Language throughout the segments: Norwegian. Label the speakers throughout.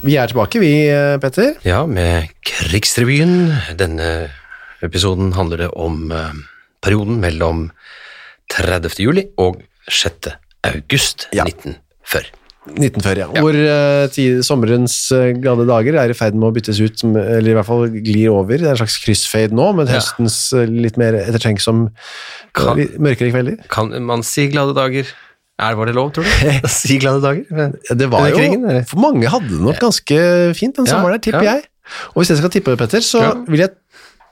Speaker 1: Vi er tilbake, vi, eh, Petter.
Speaker 2: Ja, med Krigsrevyen. Denne episoden handler det om eh, perioden mellom 30. juli og 6. august
Speaker 1: Ja.
Speaker 2: 1940.
Speaker 1: 1940, ja. Hvor eh, ti- sommerens eh, glade dager er i ferd med å byttes ut, som- eller i hvert fall glir over. Det er en slags kryssfade nå, men
Speaker 2: Ja.
Speaker 1: høstens eh, litt mer ettertenksom
Speaker 2: Kan-
Speaker 1: eh, mørkere kvelder.
Speaker 2: Kan man si glade dager? Er var det lov, tror du? si glade dager?
Speaker 1: Ja, Det var
Speaker 2: Under
Speaker 1: jo,
Speaker 2: krigen, eller?
Speaker 1: for mange hadde det nok ganske fint den
Speaker 2: Ja,
Speaker 1: sommeren der, tipper
Speaker 2: ja.
Speaker 1: jeg. Og hvis jeg skal tippe, Petter, så
Speaker 2: Ja.
Speaker 1: vil jeg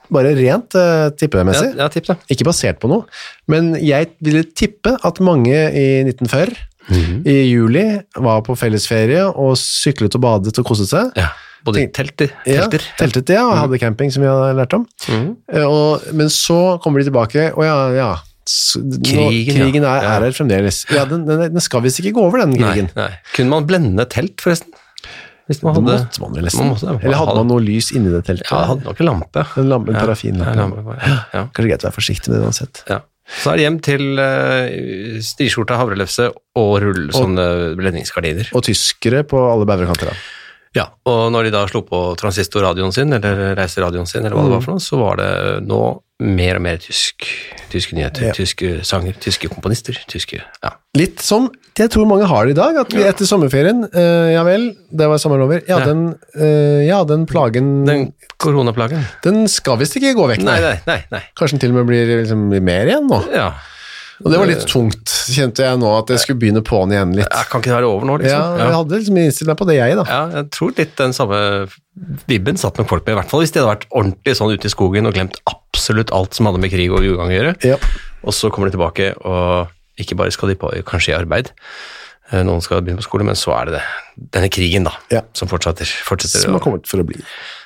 Speaker 1: bare rent uh,
Speaker 2: Ja,
Speaker 1: tippemessig,
Speaker 2: ja, tipp det.
Speaker 1: ikke basert på noe, men jeg ville tippe at mange i 1940, i juli, var på fellesferie og syklet og badet og koset seg.
Speaker 2: Ja, både
Speaker 1: Tenk-
Speaker 2: telter,
Speaker 1: Ja,
Speaker 2: telter.
Speaker 1: teltet, ja, og
Speaker 2: Mhm.
Speaker 1: hadde camping som vi hadde lært om. Eh, Og, men så kommer de tilbake, og ja, ja. s- nå-
Speaker 2: Krigen, ja.
Speaker 1: krigen er,
Speaker 2: Ja.
Speaker 1: er her fremdeles. Ja, den, den, den skal visst ikke gå over, den
Speaker 2: Nei,
Speaker 1: krigen.
Speaker 2: nei. Kunne man blende telt, forresten? Hvis man
Speaker 1: Det
Speaker 2: hadde,
Speaker 1: måtte man vel nesten.
Speaker 2: Man måtte-
Speaker 1: Eller hadde man noe lys inni det teltet?
Speaker 2: ja, hadde nok en lampe.
Speaker 1: En lampe, en
Speaker 2: Ja,
Speaker 1: parafinlampe.
Speaker 2: ja, lampe, bare. ja.
Speaker 1: Kanskje greit å være forsiktig med det uansett.
Speaker 2: Ja. Så er det hjem til uh, striskjorta, havrelefse og rull sånne blendingsgardiner.
Speaker 1: Og tyskere på alle bauerkanter. da.
Speaker 2: Ja, og når de da slo på transistorradioen sin, eller reiseradioen sin, eller hva
Speaker 1: Mm.
Speaker 2: det var for noe, så var det nå mer og mer tysk. Tyske nyheter,
Speaker 1: Ja.
Speaker 2: tyske sanger, tyske komponister, tyske Ja.
Speaker 1: Litt som jeg tror mange har det i dag, at vi etter sommerferien eh, Ja vel, det var sommeren over. Ja,
Speaker 2: Ja.
Speaker 1: den, eh, ja, den plagen Den,
Speaker 2: Den koronaplagen.
Speaker 1: skal visst ikke gå vekk,
Speaker 2: Nei, nei, nei. nei.
Speaker 1: Kanskje den til og med blir liksom, mer igjen nå.
Speaker 2: Ja.
Speaker 1: Og det var litt tungt, kjente jeg nå, at jeg skulle begynne på'n igjen litt.
Speaker 2: Jeg kan ikke det være over nå,
Speaker 1: Ja,
Speaker 2: liksom?
Speaker 1: jeg hadde liksom innstilt meg på det, jeg, da.
Speaker 2: Ja, jeg tror litt den samme vibben satt med folk med, i hvert fall hvis de hadde vært ordentlig sånn ute i skogen og glemt absolutt alt som hadde med krig og ugang å gjøre.
Speaker 1: Ja.
Speaker 2: Og så kommer de tilbake, og ikke bare skal de på, kanskje i arbeid, eh, noen skal begynne på skole, men så er det det. Denne krigen da,
Speaker 1: Ja.
Speaker 2: som fortsetter. fortsetter
Speaker 1: Som
Speaker 2: å-
Speaker 1: har kommet for å bli.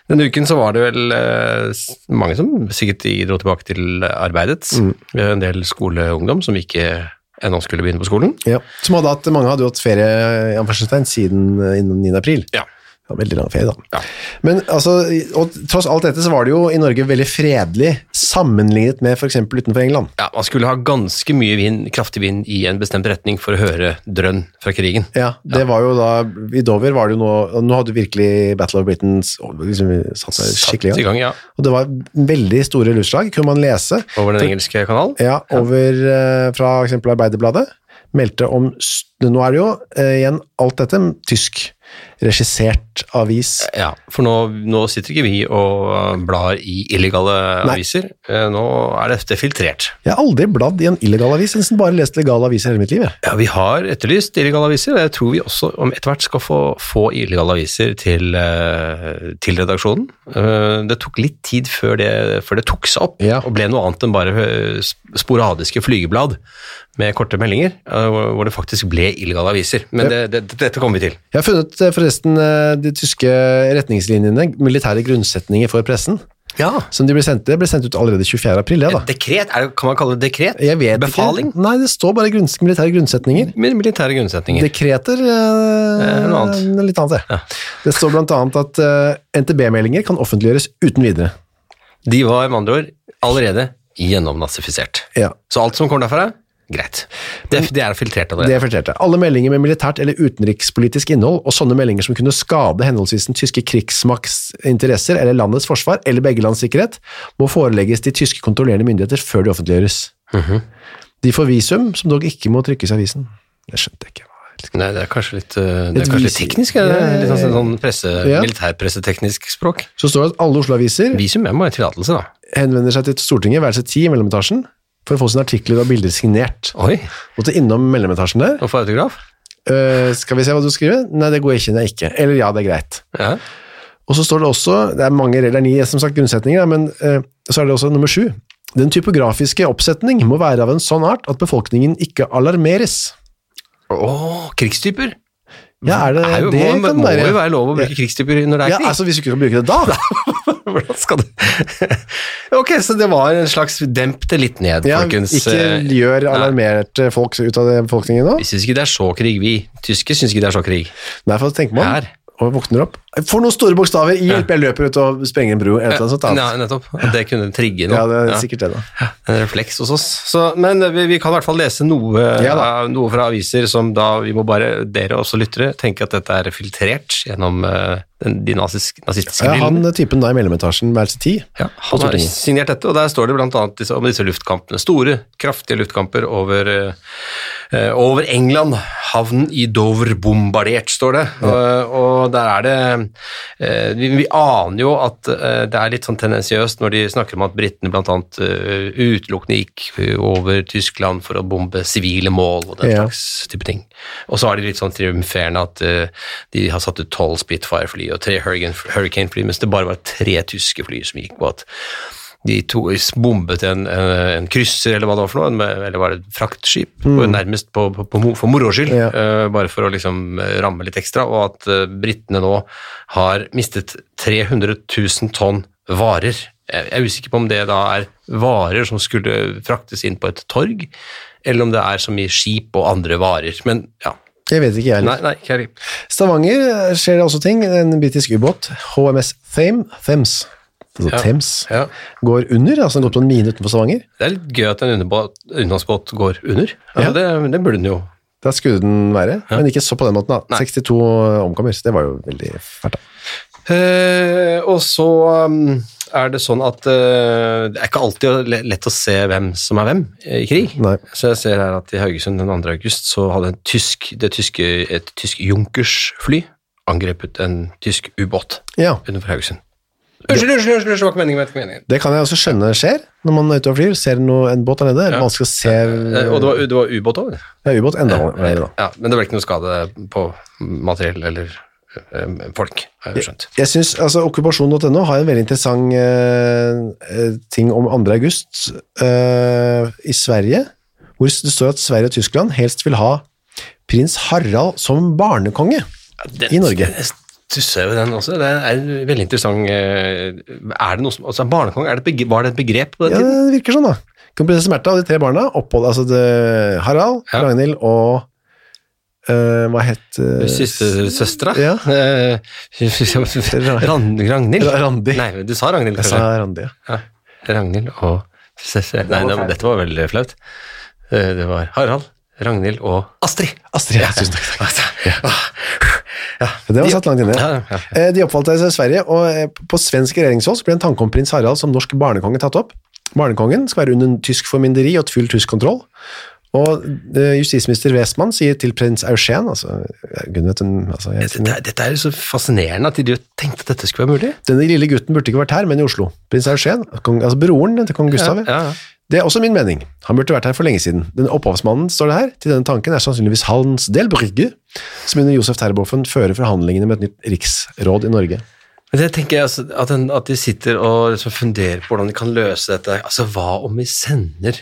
Speaker 2: Denne uken så var det vel eh, s- mange som sikkert dro tilbake til arbeidet. Vi har en del skoleungdom som ikke ennå skulle begynne på skolen.
Speaker 1: Ja. Som hadde hatt, mange hadde jo hatt ferie i anførselstegn, siden eh, innen 9. april.
Speaker 2: Ja.
Speaker 1: Ja, veldig lang ferie, da.
Speaker 2: Ja.
Speaker 1: Men altså, og tross alt dette så var det jo i Norge veldig fredelig sammenlignet med f.eks. utenfor England.
Speaker 2: Ja, man skulle ha ganske mye vind, kraftig vind i en bestemt retning for å høre drønn fra krigen.
Speaker 1: Ja, det var jo da I Dover var det jo nå og Nå hadde jo virkelig Battle of Britain s- liksom satt seg skikkelig
Speaker 2: Satt i
Speaker 1: i gang.
Speaker 2: gang, ja.
Speaker 1: Og det var veldig store luftslag, kunne man lese.
Speaker 2: Over den engelske kanalen.
Speaker 1: Ja, over eh, fra for eksempel Arbeiderbladet meldte om s- Nå er det jo eh, igjen alt dette tysk regissert avis.
Speaker 2: Ja, for nå, nå sitter ikke vi og eh, blar i illegale
Speaker 1: Nei.
Speaker 2: aviser. Eh, Nå er dette filtrert.
Speaker 1: Jeg har aldri bladd i en illegal avis, jeg har nesten bare lest legale aviser hele mitt liv. jeg.
Speaker 2: Ja, vi har etterlyst illegale aviser, og jeg tror vi også om etter hvert skal få, få illegale aviser til, eh, til redaksjonen. Eh, Det tok litt tid før det, før det tok seg opp,
Speaker 1: Ja.
Speaker 2: og ble noe annet enn bare eh, sp- sporadiske flygeblad med korte meldinger, eh, hvor hvor det faktisk ble illegale aviser. Men det, det, dette kommer vi til.
Speaker 1: Jeg har funnet eh, forresten eh, de tyske retningslinjene, militære grunnsetninger for pressen,
Speaker 2: Ja,
Speaker 1: som de ble sendt, det ble sendt ut allerede 24. april, ja da.
Speaker 2: Dekret, er det, kan man kalle det dekret?
Speaker 1: Jeg vet
Speaker 2: Befaling?
Speaker 1: ikke. Nei, det står bare grunns, militære grunnsetninger.
Speaker 2: Mil- Militære grunnsetninger.
Speaker 1: Dekreter eh,
Speaker 2: Eh, noe annet.
Speaker 1: Litt annet, det. Det står blant annet at eh, NTB-meldinger kan offentliggjøres uten videre.
Speaker 2: De var med andre ord allerede gjennomnazifisert.
Speaker 1: Ja.
Speaker 2: Så alt som kommer derfra, greit. Det, det er filtrert
Speaker 1: Det
Speaker 2: allerede.
Speaker 1: forterte. Alle meldinger med militært eller utenrikspolitisk innhold, og sånne meldinger som kunne skade henholdsvis den tyske krigsmakts interesser eller landets forsvar, eller begge lands sikkerhet, må forelegges de tyske kontrollerende myndigheter før de offentliggjøres. De får visum, som dog ikke må trykkes i avisen. Det skjønte jeg ikke.
Speaker 2: Nei, det er kanskje litt, eh, det
Speaker 1: Et
Speaker 2: er kanskje litt
Speaker 1: visi-
Speaker 2: teknisk, er det?
Speaker 1: Ja, ja,
Speaker 2: litt sånn,
Speaker 1: ja.
Speaker 2: sånn presse,
Speaker 1: Ja.
Speaker 2: militærpresseteknisk språk.
Speaker 1: Så står det at alle Oslo-aviser
Speaker 2: Visum jeg må ha en tillatelse, da.
Speaker 1: henvender seg til Stortinget, værelse 10 i mellometasjen, for å få sine artikler og bilder signert.
Speaker 2: Oi,
Speaker 1: Og til innom mellometasjen der
Speaker 2: og få autograf?
Speaker 1: øh, Skal vi se hva du skriver? Nei, det går ikke, det er ikke. Eller ja, det er greit.
Speaker 2: Ja.
Speaker 1: Og så står det også, det er mange, det er ni som sagt grunnsetninger, da, men eh, så er det også nummer sju. Den typografiske oppsetning må være av en sånn art at befolkningen ikke alarmeres.
Speaker 2: Å, krigstyper!
Speaker 1: Ja, er det
Speaker 2: er jo,
Speaker 1: det
Speaker 2: må,
Speaker 1: kan
Speaker 2: må
Speaker 1: være?
Speaker 2: jo være lov å bruke krigstyper når det er
Speaker 1: Ja,
Speaker 2: krig.
Speaker 1: altså hvis vi ikke skal bruke det da,
Speaker 2: Hvordan skal du Ok, så det var en slags demp det litt ned,
Speaker 1: Ja,
Speaker 2: folkens. eh,
Speaker 1: ikke gjør alarmerte folk ut av det befolkningen nå.
Speaker 2: Vi syns ikke det er så krig, vi. Tyske syns ikke det er så krig.
Speaker 1: Nei, for tenker man,
Speaker 2: Her.
Speaker 1: og våkner opp. For noen store bokstaver! Hjelp, jeg løper ut og sprenger en bro. Eller noe sånt
Speaker 2: Nei,
Speaker 1: annet.
Speaker 2: nettopp. At Det kunne trigge noe.
Speaker 1: Ja, det er
Speaker 2: Ja.
Speaker 1: sikkert det, da.
Speaker 2: En refleks hos oss. Så, men eh, vi, vi kan i hvert fall lese noe,
Speaker 1: Ja da.
Speaker 2: av- noe fra aviser som da vi må bare, dere også lyttere, tenke at dette er filtrert gjennom eh, den, de nazis- nazistiske
Speaker 1: Ja, han eh,
Speaker 2: brillene.
Speaker 1: typen da i mellometasjen med RCT.
Speaker 2: Ja, han har
Speaker 1: Stortinget.
Speaker 2: signert dette, og der står det bl.a. Disse, om disse luftkampene. Store, kraftige luftkamper over, eh, over England. Havnen i Dover bombardert, står det. Og, og der er det eh, vi, vi aner jo at eh, det er litt sånn tendensiøst når de snakker om at britene bl.a. Uh, utelukkende gikk over Tyskland for å bombe sivile mål og den
Speaker 1: Ja.
Speaker 2: slags type ting. Og så er de litt sånn triumferende at eh, de har satt ut tolv Spitfire-fly og tre Hurricane- Hurricane-fly, mens det bare var tre tyske fly som gikk på at de to bombet en, eh, en krysser, eller hva det var for noe, en- eller var det et fraktskip, på- nærmest på, på, på, mo- for moro skyld,
Speaker 1: Ja.
Speaker 2: eh, bare for å liksom eh, ramme litt ekstra, og at eh, britene nå har mistet 300 000 tonn varer. Jeg jeg er usikker på om det da er varer som skulle fraktes inn på et torg, eller om det er som i skip og andre varer. Men ja,
Speaker 1: Det vet ikke jeg. heller.
Speaker 2: nei, nei, ikke jeg.
Speaker 1: Stavanger eh, skjer det også ting. En britisk ubåt, HMS Thame, Thames, altså
Speaker 2: Ja.
Speaker 1: Thames,
Speaker 2: Ja.
Speaker 1: går under. Altså den går på en mine utenfor Stavanger.
Speaker 2: Det er litt gøy at en underbåt- utenlandsbåt går under. Altså, det, det burde den jo.
Speaker 1: Der skulle den være, men ikke så på den måten. da.
Speaker 2: Nei.
Speaker 1: 62 omkommer, så det var jo veldig fælt. da.
Speaker 2: Eh, og så um, er det sånn at eh, det er ikke alltid le- lett å se hvem som er hvem eh, i krig.
Speaker 1: Nei.
Speaker 2: Så jeg ser her at i Haugesund den 2. august så hadde en tysk, det tyske, et tysk Junkers-fly angrepet en tysk ubåt
Speaker 1: Ja,
Speaker 2: utenfor Haugesund. Unnskyld, unnskyld, unnskyld, det var ikke meningen. det var ikke meningen.
Speaker 1: Det kan jeg også skjønne skjer når man er ute og flyr. Ser noe, en båt der nede, er det
Speaker 2: Ja.
Speaker 1: vanskelig å se
Speaker 2: Eh, Og det var, Eh, det var ubåt òg?
Speaker 1: ja, ubåt enda verre. da.
Speaker 2: Ja, men det ble ikke noe skade på materiell eller eh, folk, har jeg skjønt.
Speaker 1: Jeg synes, altså Okkupasjon.no har en veldig interessant eh, eh, ting om 2. august eh, i Sverige, hvor det står at Sverige og Tyskland helst vil ha prins Harald som barnekonge. I Norge.
Speaker 2: Jeg stusser jo den også. Det er veldig interessant. eh, Er det noe som, altså Barnekong, er det et begre- var det et begrep på den
Speaker 1: Ja,
Speaker 2: tiden?
Speaker 1: det virker sånn, da. Kronprinsesse Märtha og de tre barna opphold, altså det, Harald,
Speaker 2: Ja.
Speaker 1: Ragnhild og eh, Hva het eh,
Speaker 2: Siste søstera?
Speaker 1: Ja.
Speaker 2: Eh, Ragn- Ragnhild?
Speaker 1: Randi.
Speaker 2: Nei, men du sa Ragnhild,
Speaker 1: Jeg sa
Speaker 2: kanskje?
Speaker 1: Randi, ja.
Speaker 2: Ja. Ragnhild og søster Nei, det, dette var veldig flaut. Eh, Det var Harald, Ragnhild og Astrid.
Speaker 1: Astrid. Ja. Tusen takk.
Speaker 2: Ah, Ja.
Speaker 1: Det var satt langt inne.
Speaker 2: Ja, ja.
Speaker 1: Eh, De oppfalt seg i Sverige, og eh, på svensk regjeringshold så ble en tanke om prins Harald som norsk barnekonge tatt opp. Barnekongen skal være under tysk formynderi og et full tysk kontroll. Og eh, justisminister Westman sier til prins Eugen, altså, eh, Gud vet hun, altså jeg,
Speaker 2: Dette, er- dette er jo så fascinerende at de jo tenkte at dette skulle være mulig.
Speaker 1: Denne lille gutten burde ikke vært her, men i Oslo. Prins Eugen, kong, altså broren til kong Gustav.
Speaker 2: Ja, ja, ja.
Speaker 1: Det er også min mening. Han burde vært her for lenge siden. Den opphavsmannen, står det her, til denne tanken er sannsynligvis Hans Del Brygge, som under Josef Terboven fører forhandlingene med et nytt riksråd i Norge.
Speaker 2: Men det tenker jeg altså, at, en, at de sitter og liksom funderer på hvordan de kan løse dette. Altså, hva om vi sender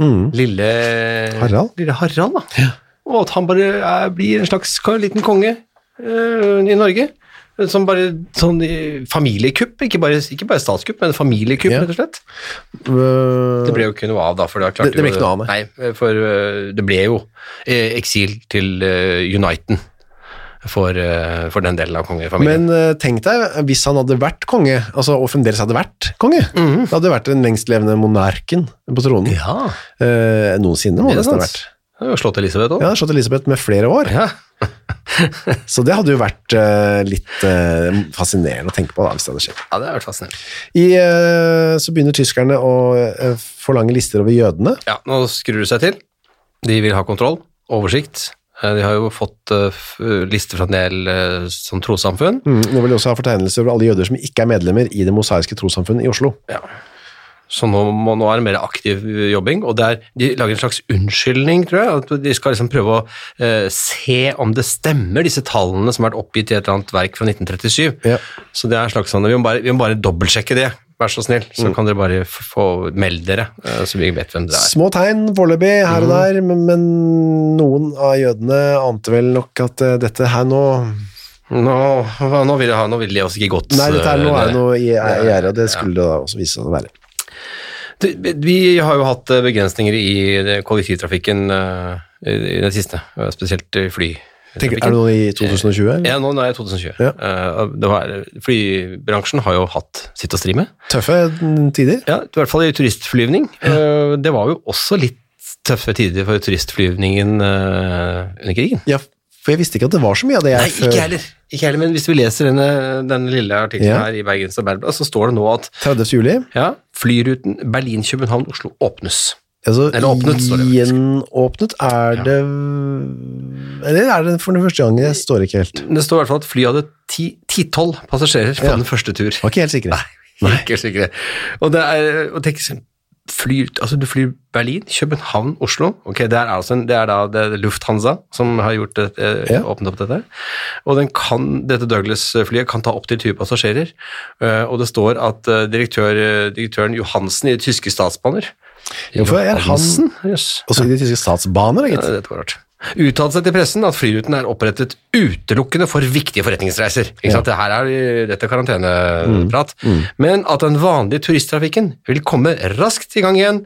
Speaker 2: lille
Speaker 1: Mm. Harald?
Speaker 2: lille Harald da? Og at han bare er, blir en slags ko- liten konge eh, i Norge. Som bare sånn eh, familiekupp, ikke bare, ikke bare statskupp, men familiekupp,
Speaker 1: Ja.
Speaker 2: rett og slett.
Speaker 1: Øh,
Speaker 2: Det ble jo ikke noe av, da. For det,
Speaker 1: Det- det ble ikke noe av,
Speaker 2: Nei, for eh, det ble jo eh, eksil til eh, Uniten for, eh, for den delen av kongefamilien.
Speaker 1: Men eh, tenk deg, hvis han hadde vært konge, altså, og fremdeles hadde vært konge, det hadde vært den lengstlevende monarken på tronen.
Speaker 2: Mhm. ja,
Speaker 1: Eh, noensinne må
Speaker 2: det
Speaker 1: det
Speaker 2: er
Speaker 1: nesten ha
Speaker 2: sant.
Speaker 1: vært.
Speaker 2: Det har jo slått Elisabeth òg.
Speaker 1: Ja, slått Elisabeth med flere år,
Speaker 2: Ja.
Speaker 1: så det hadde jo vært eh, litt eh, fascinerende å tenke på da, hvis det hadde skjedd.
Speaker 2: Ja, det har vært fascinerende.
Speaker 1: I, eh, så begynner tyskerne å eh, forlange lister over jødene.
Speaker 2: Ja, nå skrur det seg til. De vil ha kontroll, oversikt. Eh, De har jo fått eh, f- lister fra en del eh, sånn trossamfunn.
Speaker 1: Mm, nå vil de også ha fortegnelser over alle jøder som ikke er medlemmer i det mosaiske trossamfunnet i Oslo.
Speaker 2: Så nå, må, nå er det mer aktiv eh, jobbing, og der, de lager en slags unnskyldning, tror jeg. At de skal liksom prøve å eh, se om det stemmer, disse tallene som har vært oppgitt i et eller annet verk fra 1937.
Speaker 1: Ja.
Speaker 2: Så det er en slags sånn, vi må bare, vi må bare dobbeltsjekke det, vær så snill. Så kan dere bare f- få melde dere, eh, så vi vet hvem det er.
Speaker 1: Små tegn foreløpig
Speaker 2: Mhm.
Speaker 1: her og der, men, men noen av jødene ante vel nok at eh, dette her nå
Speaker 2: Nå, hva- nå, vil, jeg ha, nå vil de oss ikke godt
Speaker 1: Nei, dette er, nå er det
Speaker 2: eh,
Speaker 1: noe i i gjerdet, og det skulle det da også vise seg å være.
Speaker 2: Du, Vi har jo hatt eh, begrensninger i det- kollektivtrafikken eh, i i det siste, eh, spesielt i
Speaker 1: Tenker,
Speaker 2: flytrafikken.
Speaker 1: er det noe i 2020? eller?
Speaker 2: Ja, nå nå er det 2020.
Speaker 1: Ja.
Speaker 2: Eh, Det var, flybransjen har jo hatt sitt å stri med.
Speaker 1: Tøffe tider?
Speaker 2: Ja, I hvert fall i turistflyvning. Eh, Det var jo også litt tøffe tider for turistflyvningen eh, under krigen.
Speaker 1: Ja, for jeg visste ikke at det var så mye av det jeg
Speaker 2: Nei, ikke jeg heller. Ikke heller, men hvis vi leser denne, denne lille artikkelen
Speaker 1: Ja.
Speaker 2: her i Bergens Arbeiderblad, så står det nå at
Speaker 1: 30. juli.
Speaker 2: ja, flyruten Berlin-København-Oslo åpnes.
Speaker 1: Altså,
Speaker 2: Eller åpnet, står det faktisk.
Speaker 1: Gjenåpnet er det Eller er det for den første gangen? Jeg står ikke helt.
Speaker 2: Det står i hvert fall at flyet hadde ti- ti-tolv passasjerer på
Speaker 1: Ja.
Speaker 2: den første tur.
Speaker 1: Var ikke helt sikre.
Speaker 2: Ikke sikre. Og det er, og tenk, sånn, fly, altså du flyr Berlin, København, Oslo. Ok, det er, altså en, det er da det er Lufthansa som har gjort det, eh,
Speaker 1: Ja.
Speaker 2: åpnet opp dette. Og den kan, dette Douglas-flyet kan ta opptil 20 passasjerer. Eh, og det står at eh, direktør, eh, direktøren Johansen i det tyske statsbaner
Speaker 1: Hvorfor er han-
Speaker 2: Jøss.
Speaker 1: Også i de tyske statsbaner,
Speaker 2: Ja,
Speaker 1: gitt.
Speaker 2: dette var rart. Uttalte seg til pressen at flyruten er opprettet utelukkende for viktige forretningsreiser. Ikke sant? Det her er, dette er karanteneprat.
Speaker 1: Mm.
Speaker 2: Men at den vanlige turisttrafikken vil komme raskt i gang igjen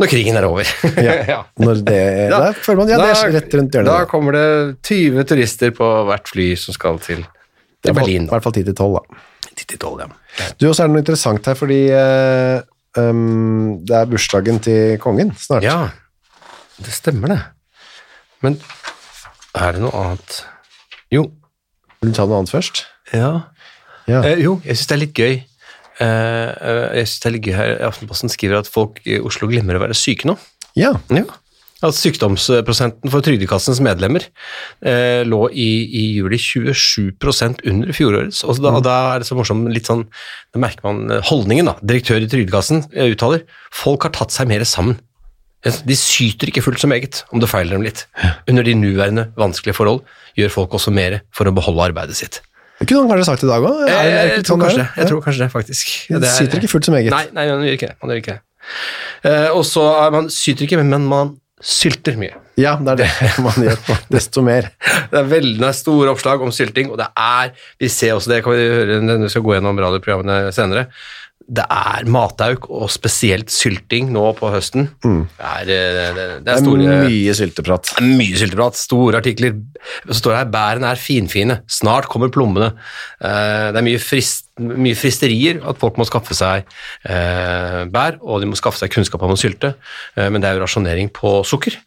Speaker 2: når krigen er over. Ja.
Speaker 1: Når det
Speaker 2: Da-
Speaker 1: Der føler man ja, det
Speaker 2: da-
Speaker 1: er rett rundt
Speaker 2: Da
Speaker 1: hjørnet.
Speaker 2: kommer det 20 turister på hvert fly som skal til,
Speaker 1: Det er
Speaker 2: til Berlin.
Speaker 1: I hvert fall 10 til 12, da.
Speaker 2: Til tolv, ja.
Speaker 1: Du, også er det noe interessant her, fordi eh, um, det er bursdagen til kongen snart.
Speaker 2: ja, det stemmer det. Men er det noe annet? Jo,
Speaker 1: Vil du ta noe annet først?
Speaker 2: ja.
Speaker 1: Ja.
Speaker 2: Eh, jo, jeg syns det er litt gøy. Eh, eh, jeg synes det er litt gøy her. Aftenposten skriver at folk i Oslo glemmer å være syke nå.
Speaker 1: ja.
Speaker 2: At sykdomsprosenten for Trygdekassens medlemmer eh, lå i, i juli 27 under fjorårets. Og
Speaker 1: Mm.
Speaker 2: da, og da er det så morsomt, litt sånn, da merker man eh, holdningen, da. Direktør i Trygdekassen eh, uttaler folk har tatt seg mer sammen. Altså, De syter ikke fullt så meget om det feiler dem litt. Under de nuværende vanskelige forhold gjør folk også mer for å beholde arbeidet sitt.
Speaker 1: Det Kunne han kanskje sagt i dag òg?
Speaker 2: Jeg, jeg, jeg,
Speaker 1: sånn
Speaker 2: tror kanskje det, jeg tror kanskje det, faktisk.
Speaker 1: Det
Speaker 2: Det er-
Speaker 1: syter ikke fullt så meget.
Speaker 2: Nei, nei, man gjør ikke det. Man gjør ikke det. Eh, og så er man syter ikke, men man sylter mye.
Speaker 1: Ja, det er det man gjør. Desto mer.
Speaker 2: Det er veldig det er store oppslag om sylting, og det er Vi ser også det, kan vi høre når vi skal gå gjennom radioprogrammene senere. Det er matauk, og spesielt sylting nå på høsten. Det, er, eh, det, det
Speaker 1: Det
Speaker 2: er
Speaker 1: er
Speaker 2: store
Speaker 1: mye sylteprat.
Speaker 2: det er Mye sylteprat, store artikler. Og Så står det her bærene er finfine, snart kommer plommene. Eh, det er mye, frist, mye fristerier at folk må skaffe seg eh, bær, og de må skaffe seg kunnskap om å sylte. Eh, men det er jo rasjonering på sukker,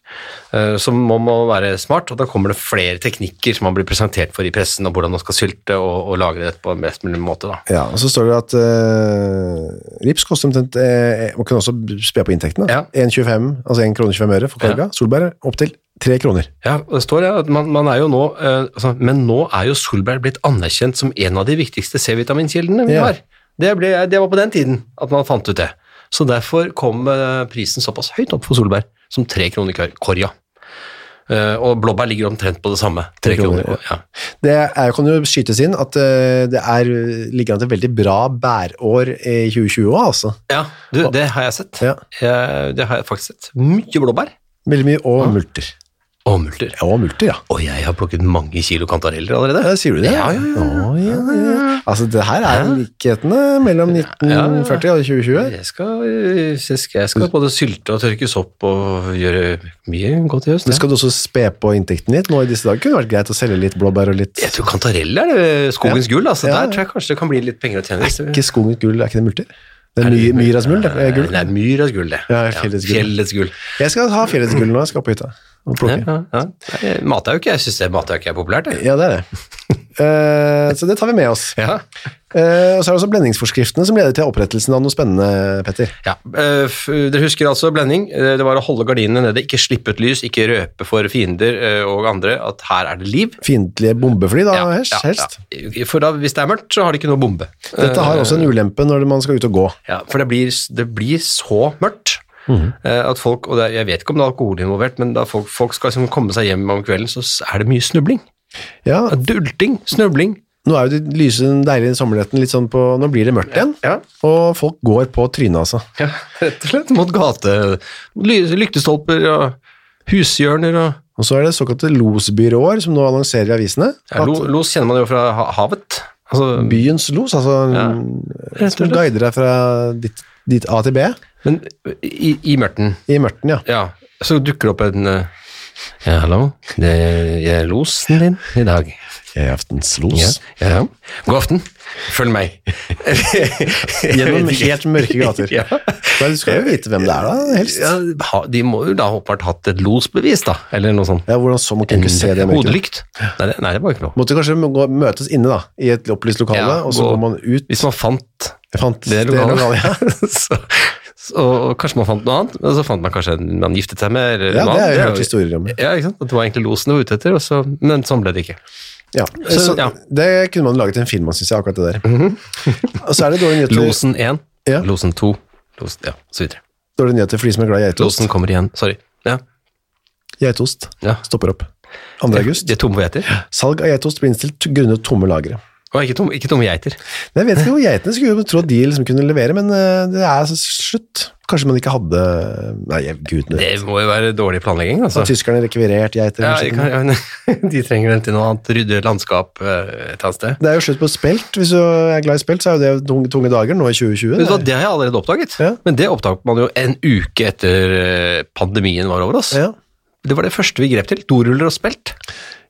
Speaker 2: eh, så man må være smart. Og da kommer det flere teknikker som man blir presentert for i pressen, om hvordan man skal sylte og, og lagre det på en best mulig måte. Da.
Speaker 1: Ja, og så står det at eh, rips koster omtrent eh, Man kan også spe på inntektene.
Speaker 2: Ja.
Speaker 1: 1,25, altså 1 kroner 25 øre for korga. Solbær opptil 3 kroner.
Speaker 2: Ja, og det står ja, at man, man er jo nå, eh, altså, Men nå er jo solbær blitt anerkjent som en av de viktigste C-vitaminkildene vi
Speaker 1: Ja.
Speaker 2: har. Det, ble, det var på den tiden at man fant ut det. Så derfor kom eh, prisen såpass høyt opp for solbær som tre kroner kor- korja. Eh, og blåbær ligger omtrent på det samme. Tre
Speaker 1: Tre kroner,
Speaker 2: kroner, kor- ja.
Speaker 1: Det er, kan jo skytes inn at eh, det er, ligger an til veldig bra bærår i 2020 òg, altså.
Speaker 2: ja, du, det har jeg sett.
Speaker 1: Ja.
Speaker 2: Jeg, det har jeg faktisk sett. Mye blåbær
Speaker 1: Veldig mye. Og multer.
Speaker 2: og multer.
Speaker 1: Ja, og multer, ja.
Speaker 2: Og jeg har plukket mange kilo kantareller allerede.
Speaker 1: Ja, Eh, Sier du det?
Speaker 2: Ja, ja, ja.
Speaker 1: Å, ja, ja. Altså, det her er likhetene mellom 1940 og 2020.
Speaker 2: Jeg skal, øh, jeg skal, jeg skal både sylte og tørkes opp og gjøre mye godt i høst.
Speaker 1: Men
Speaker 2: jeg.
Speaker 1: skal du også spe på inntekten litt nå i disse dager? Kunne det vært greit å selge litt blåbær og litt
Speaker 2: Jeg tror kantarell er det skogens gull. Altså.
Speaker 1: Ja, ja.
Speaker 2: Der tror jeg kanskje det kan bli litt penger å tjene. hvis det-
Speaker 1: Ikke skogens gull, er ikke det multer? Det er, my, myras gull, det er gull.
Speaker 2: Det er myras gull, det.
Speaker 1: Ja, fjellets gull.
Speaker 2: fjellets gull.
Speaker 1: Jeg skal ha fjellets gull når jeg skal på hytta og
Speaker 2: Ja,
Speaker 1: plukke.
Speaker 2: ja, ja. Nei, Matauk, jeg syns matauk er populært. Jeg.
Speaker 1: Ja, det er det. Eh, så det tar vi med oss.
Speaker 2: Ja.
Speaker 1: Eh, og så er det også blendingsforskriftene som leder til opprettelsen av noe spennende, Petter.
Speaker 2: Ja, eh, f- Dere husker altså blending. Eh, Det var å holde gardinene nede, ikke slippe ut lys, ikke røpe for fiender eh, og andre at her er det liv.
Speaker 1: Fiendtlige bombefly, da,
Speaker 2: Ja,
Speaker 1: helst.
Speaker 2: ja,
Speaker 1: helst.
Speaker 2: ja. For da, hvis det er mørkt, så har de ikke noe bombe.
Speaker 1: Dette har også en ulempe når man skal ut og gå.
Speaker 2: Ja, for det blir, det blir så mørkt eh, at folk, og det, er- jeg vet ikke om det er alkohol involvert, men da folk, folk skal liksom komme seg hjem om kvelden, så s- er det mye snubling.
Speaker 1: Ja,
Speaker 2: Dulting, snubling.
Speaker 1: nå er jo de lyse, deilige sommernettene litt sånn på Nå blir det mørkt igjen,
Speaker 2: Ja.
Speaker 1: og folk går på trynet, altså.
Speaker 2: ja, rett og slett. Mot gate, ly- lyktestolper og hushjørner og
Speaker 1: Og så er det såkalte losbyråer som nå annonserer i avisene.
Speaker 2: Ja, lo-
Speaker 1: at
Speaker 2: los kjenner man jo fra ha- havet. Altså,
Speaker 1: byens los, altså
Speaker 2: Ja,
Speaker 1: eh, som
Speaker 2: slett.
Speaker 1: guider deg fra ditt, ditt A til B
Speaker 2: men i, i mørten,
Speaker 1: i Mørten, ja.
Speaker 2: ja, så dukker det opp en eh, Ja, hallo, det er, jeg er losen din i dag.
Speaker 1: Jeg er aftens los.
Speaker 2: Ja, ja, ja. God aften, følg meg.
Speaker 1: Gjennom helt mørke gater.
Speaker 2: Ja.
Speaker 1: Men du skal jo vite hvem det er, da, helst.
Speaker 2: Ja, ha- de må jo da håpbart hatt et losbevis, da, eller noe sånt.
Speaker 1: Ja, hvordan så man kunne ikke se det i mørket?
Speaker 2: Hodelykt. Nei, det, nei, det var ikke noe.
Speaker 1: Måtte kanskje gå, møtes inne da, i et opplyst lokale,
Speaker 2: Ja,
Speaker 1: og så
Speaker 2: gå-
Speaker 1: går man ut.
Speaker 2: Hvis man fant
Speaker 1: Jeg fant
Speaker 2: det
Speaker 1: lokalet,
Speaker 2: lokalet,
Speaker 1: ja.
Speaker 2: så, så, og kanskje man fant noe annet, men så fant man kanskje en man giftet seg med, eller
Speaker 1: Ja,
Speaker 2: noe
Speaker 1: det er
Speaker 2: annet.
Speaker 1: jo hørt historier om.
Speaker 2: Ja, ikke sant? At det var egentlig losen du var ute etter, og så, men sånn ble det ikke.
Speaker 1: Ja. Så,
Speaker 2: Så, ja.
Speaker 1: Det kunne man laget en film av, synes jeg, akkurat det der. Og så er det dårlige nyheter,
Speaker 2: Losen 1,
Speaker 1: Ja.
Speaker 2: losen 2, losen, ja, så videre.
Speaker 1: dårlige nyheter for de som er glad i geitost.
Speaker 2: Losen kommer igjen, sorry. Ja,
Speaker 1: Geitost
Speaker 2: ja.
Speaker 1: stopper opp. 2. august.
Speaker 2: De er tomme for geiter.
Speaker 1: Salg av geitost blir innstilt grunnet tomme lagre.
Speaker 2: Og ikke tomme, ikke tomme geiter.
Speaker 1: Jeg vet ikke hvor geitene skulle jo tro at de liksom kunne levere, men eh, det er altså slutt. Kanskje man ikke hadde Nei, jeg- gud, nå-
Speaker 2: Det må jo være dårlig planlegging, altså.
Speaker 1: tyskerne rekvirert geiter.
Speaker 2: Ja,
Speaker 1: kanskje.
Speaker 2: de, kan, ja, de trenger den til noe annet, rydde landskap eh, et eller annet sted.
Speaker 1: Det er jo slutt på spelt. Hvis du er glad i spelt, så er jo det tunge, tunge dager nå i 2020.
Speaker 2: Vet du hva,
Speaker 1: det
Speaker 2: det har jeg allerede oppdaget,
Speaker 1: Ja.
Speaker 2: men det oppdaget man jo en uke etter eh, pandemien var over oss.
Speaker 1: er- ja.
Speaker 2: Det var det første vi grep til. Doruller og spelt.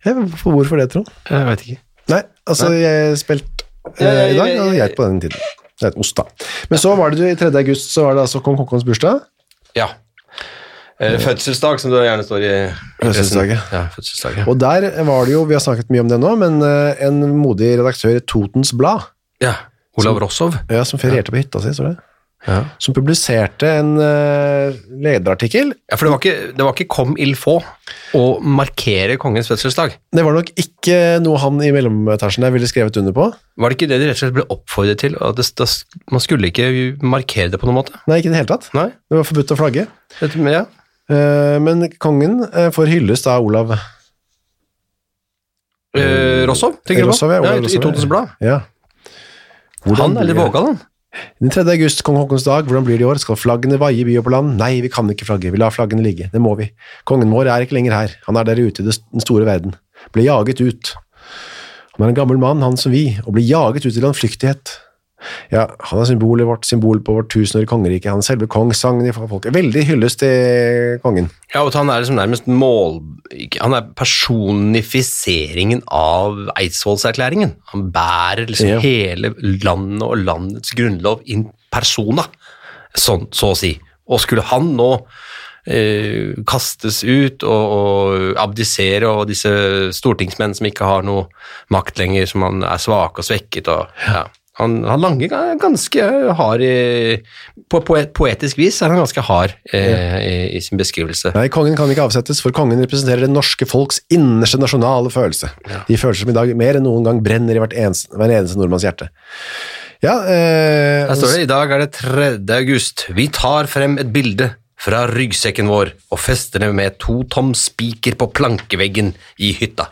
Speaker 1: Ja, hvorfor- hvorfor det, tro?
Speaker 2: Jeg vet ikke.
Speaker 1: Nei, altså jeg spilte eh,
Speaker 2: Ja, ja, ja,
Speaker 1: i dag,
Speaker 2: ja,
Speaker 1: og
Speaker 2: ja.
Speaker 1: geit på den tiden. Det er et ost, da. Men så var det jo i 3. august, så var det altså kong Haakons bursdag.
Speaker 2: Ja. Eh, Fødselsdag, som det gjerne står i
Speaker 1: Fødselsdag, ja.
Speaker 2: Ja, fødselsdag, ja.
Speaker 1: Og der var det jo, vi har snakket mye om det nå, men eh, en modig redaktør i Totens Blad,
Speaker 2: ja. Olav Rossov.
Speaker 1: ja, som ferierte på hytta si, står det,
Speaker 2: Ja.
Speaker 1: som publiserte en eh, lederartikkel.
Speaker 2: for det var, ikke, det var ikke kom il få å markere kongens fødselsdag.
Speaker 1: Det var nok ikke noe han i mellometasjen der ville skrevet under på.
Speaker 2: Var det ikke det de rett og slett ble oppfordret til? At det, da, man skulle ikke markere det på noen måte?
Speaker 1: Nei, ikke i det hele tatt.
Speaker 2: Nei?
Speaker 1: Det var forbudt å flagge.
Speaker 2: Dette med, ja.
Speaker 1: Eh, Men kongen eh, får hyllest av Olav
Speaker 2: Eh, Rossov, tenker du på?
Speaker 1: Rossov, ja, Olav
Speaker 2: i- I
Speaker 1: Rossov,
Speaker 2: Totens Blad.
Speaker 1: Ja.
Speaker 2: Han er litt
Speaker 1: blir-
Speaker 2: vågal, han.
Speaker 1: Den 3. august, kong Haakons dag, hvordan blir det i år? Skal flaggene vaie i by og på land? Nei, vi kan ikke flagge, vi lar flaggene ligge, det må vi. Kongen vår er ikke lenger her, han er der ute i det- den store verden. Ble jaget ut. Han er en gammel mann, han som vi, og blir jaget ut i landflyktighet. Ja, han er symbolet vårt, symbol på vårt tusenårige kongerike, han er selve kongssangen i folket. Veldig hylles til kongen.
Speaker 2: Ja, og han er liksom nærmest mål... ikke- Han er personifiseringen av Eidsvollserklæringen. Han bærer liksom
Speaker 1: Ja.
Speaker 2: hele landet og landets grunnlov in persona, sånn, så å si. Og skulle han nå eh, kastes ut og, og abdisere, og disse stortingsmenn som ikke har noe makt lenger, som han er svake og svekket og ja. Han, han Lange er ganske hard i På på et poetisk vis er han ganske hard eh, i, i sin beskrivelse.
Speaker 1: Nei, kongen kan ikke avsettes, for kongen representerer det norske folks innerste nasjonale følelse. De følelser som i dag mer enn noen gang brenner i hvert eneste, hver eneste nordmanns hjerte. Ja, eh,
Speaker 2: Her står det i dag er det 3. august. Vi tar frem et bilde fra ryggsekken vår og fester det med to tom spiker på plankeveggen i hytta,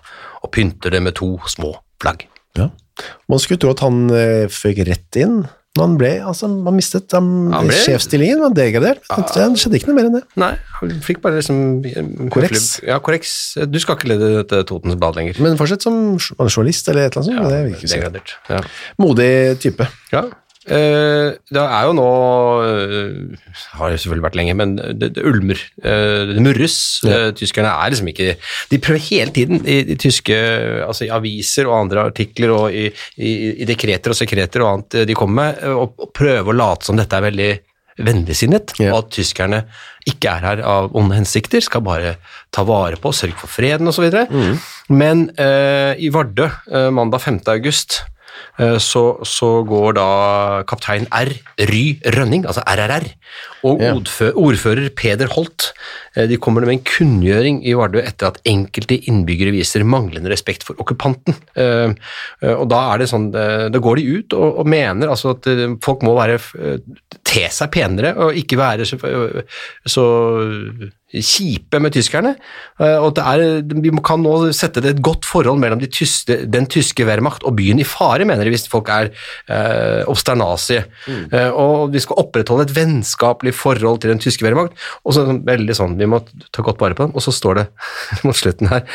Speaker 2: og pynter det med to små flagg.
Speaker 1: Ja. Man skulle tro at han eh, fikk rett inn, men han ble, altså, man mistet han,
Speaker 2: Han ble-
Speaker 1: sjefsstillingen, han degradert. Det skjedde ikke noe mer enn det.
Speaker 2: Nei, han fikk bare liksom eh,
Speaker 1: Korreks.
Speaker 2: Ja, korreks. Du skal ikke lede dette Totens Blad lenger.
Speaker 1: Men fortsett som jour- var det journalist eller et eller annet sånt. det virker ikke
Speaker 2: Degradert. Ja.
Speaker 1: så. Modig type.
Speaker 2: Ja. Eh, det er jo nå eh, Har jo selvfølgelig vært lenge, men det, det ulmer. Eh, det murres. Eh, tyskerne er liksom ikke De prøver hele tiden i, i tyske altså i aviser og andre artikler og i, i, i dekreter og sekreter og annet eh, de kommer med, eh, og, og prøve å late som dette er veldig vennligsinnet,
Speaker 1: Ja.
Speaker 2: og at tyskerne ikke er her av onde hensikter, skal bare ta vare på, sørge for freden osv. videre.
Speaker 1: Mm.
Speaker 2: Men eh, i Vardø eh, mandag 5. august eh, så, så går da kaptein R. Ry Rønning, altså RRR, og
Speaker 1: Ja.
Speaker 2: odfø- ordfører Peder Holt eh, de kommer med en kunngjøring i Vardø etter at enkelte innbyggere viser manglende respekt for okkupanten. Eh, eh, Og da er det sånn, eh, da går de ut og, og mener altså at eh, folk må være eh, te seg penere og ikke være så, eh, så kjipe med tyskerne. Eh, Og at det er, vi må- kan nå sette det et godt forhold mellom de tyste, den tyske Wehrmacht og byen i fare, mener de, hvis folk er eh, obsternasige. Eh, og vi skal opprettholde et vennskapelig forhold til den tyske Wehrmacht. Og så sånn, veldig sånn, vi må ta godt vare på dem. Og så står det mot slutten her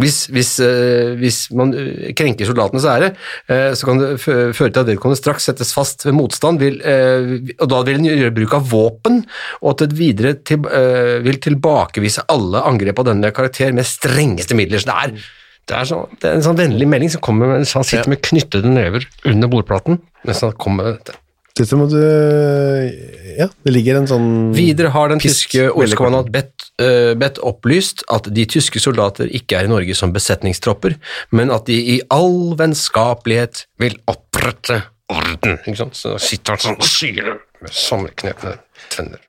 Speaker 2: hvis, hvis, eh, hvis man eh, krenker soldatenes ære, eh, så kan det fø- føre til at vedkommende straks settes fast ved motstand, vil, eh, og da vil en gjøre bruk av våpen, og at det videre til, eh, vil tilbakevise alle angrep av denne karakter med strengeste midler. Så det er, det er, sånn, det er en sånn vennlig melding som kommer mens han sitter med knyttede never under bordplaten. Mens han kommer med dette.
Speaker 1: Dette må du Ja, det ligger en sånn
Speaker 2: Videre har den
Speaker 1: Pisk.
Speaker 2: tyske ordskommandant bedt, eh, bedt opplyst at de tyske soldater ikke er i Norge som besetningstropper, men at de i all vennskapelighet vil opprette orden. Ikke sant? Så sitter han sånn og sier det med sammenknepne tenner.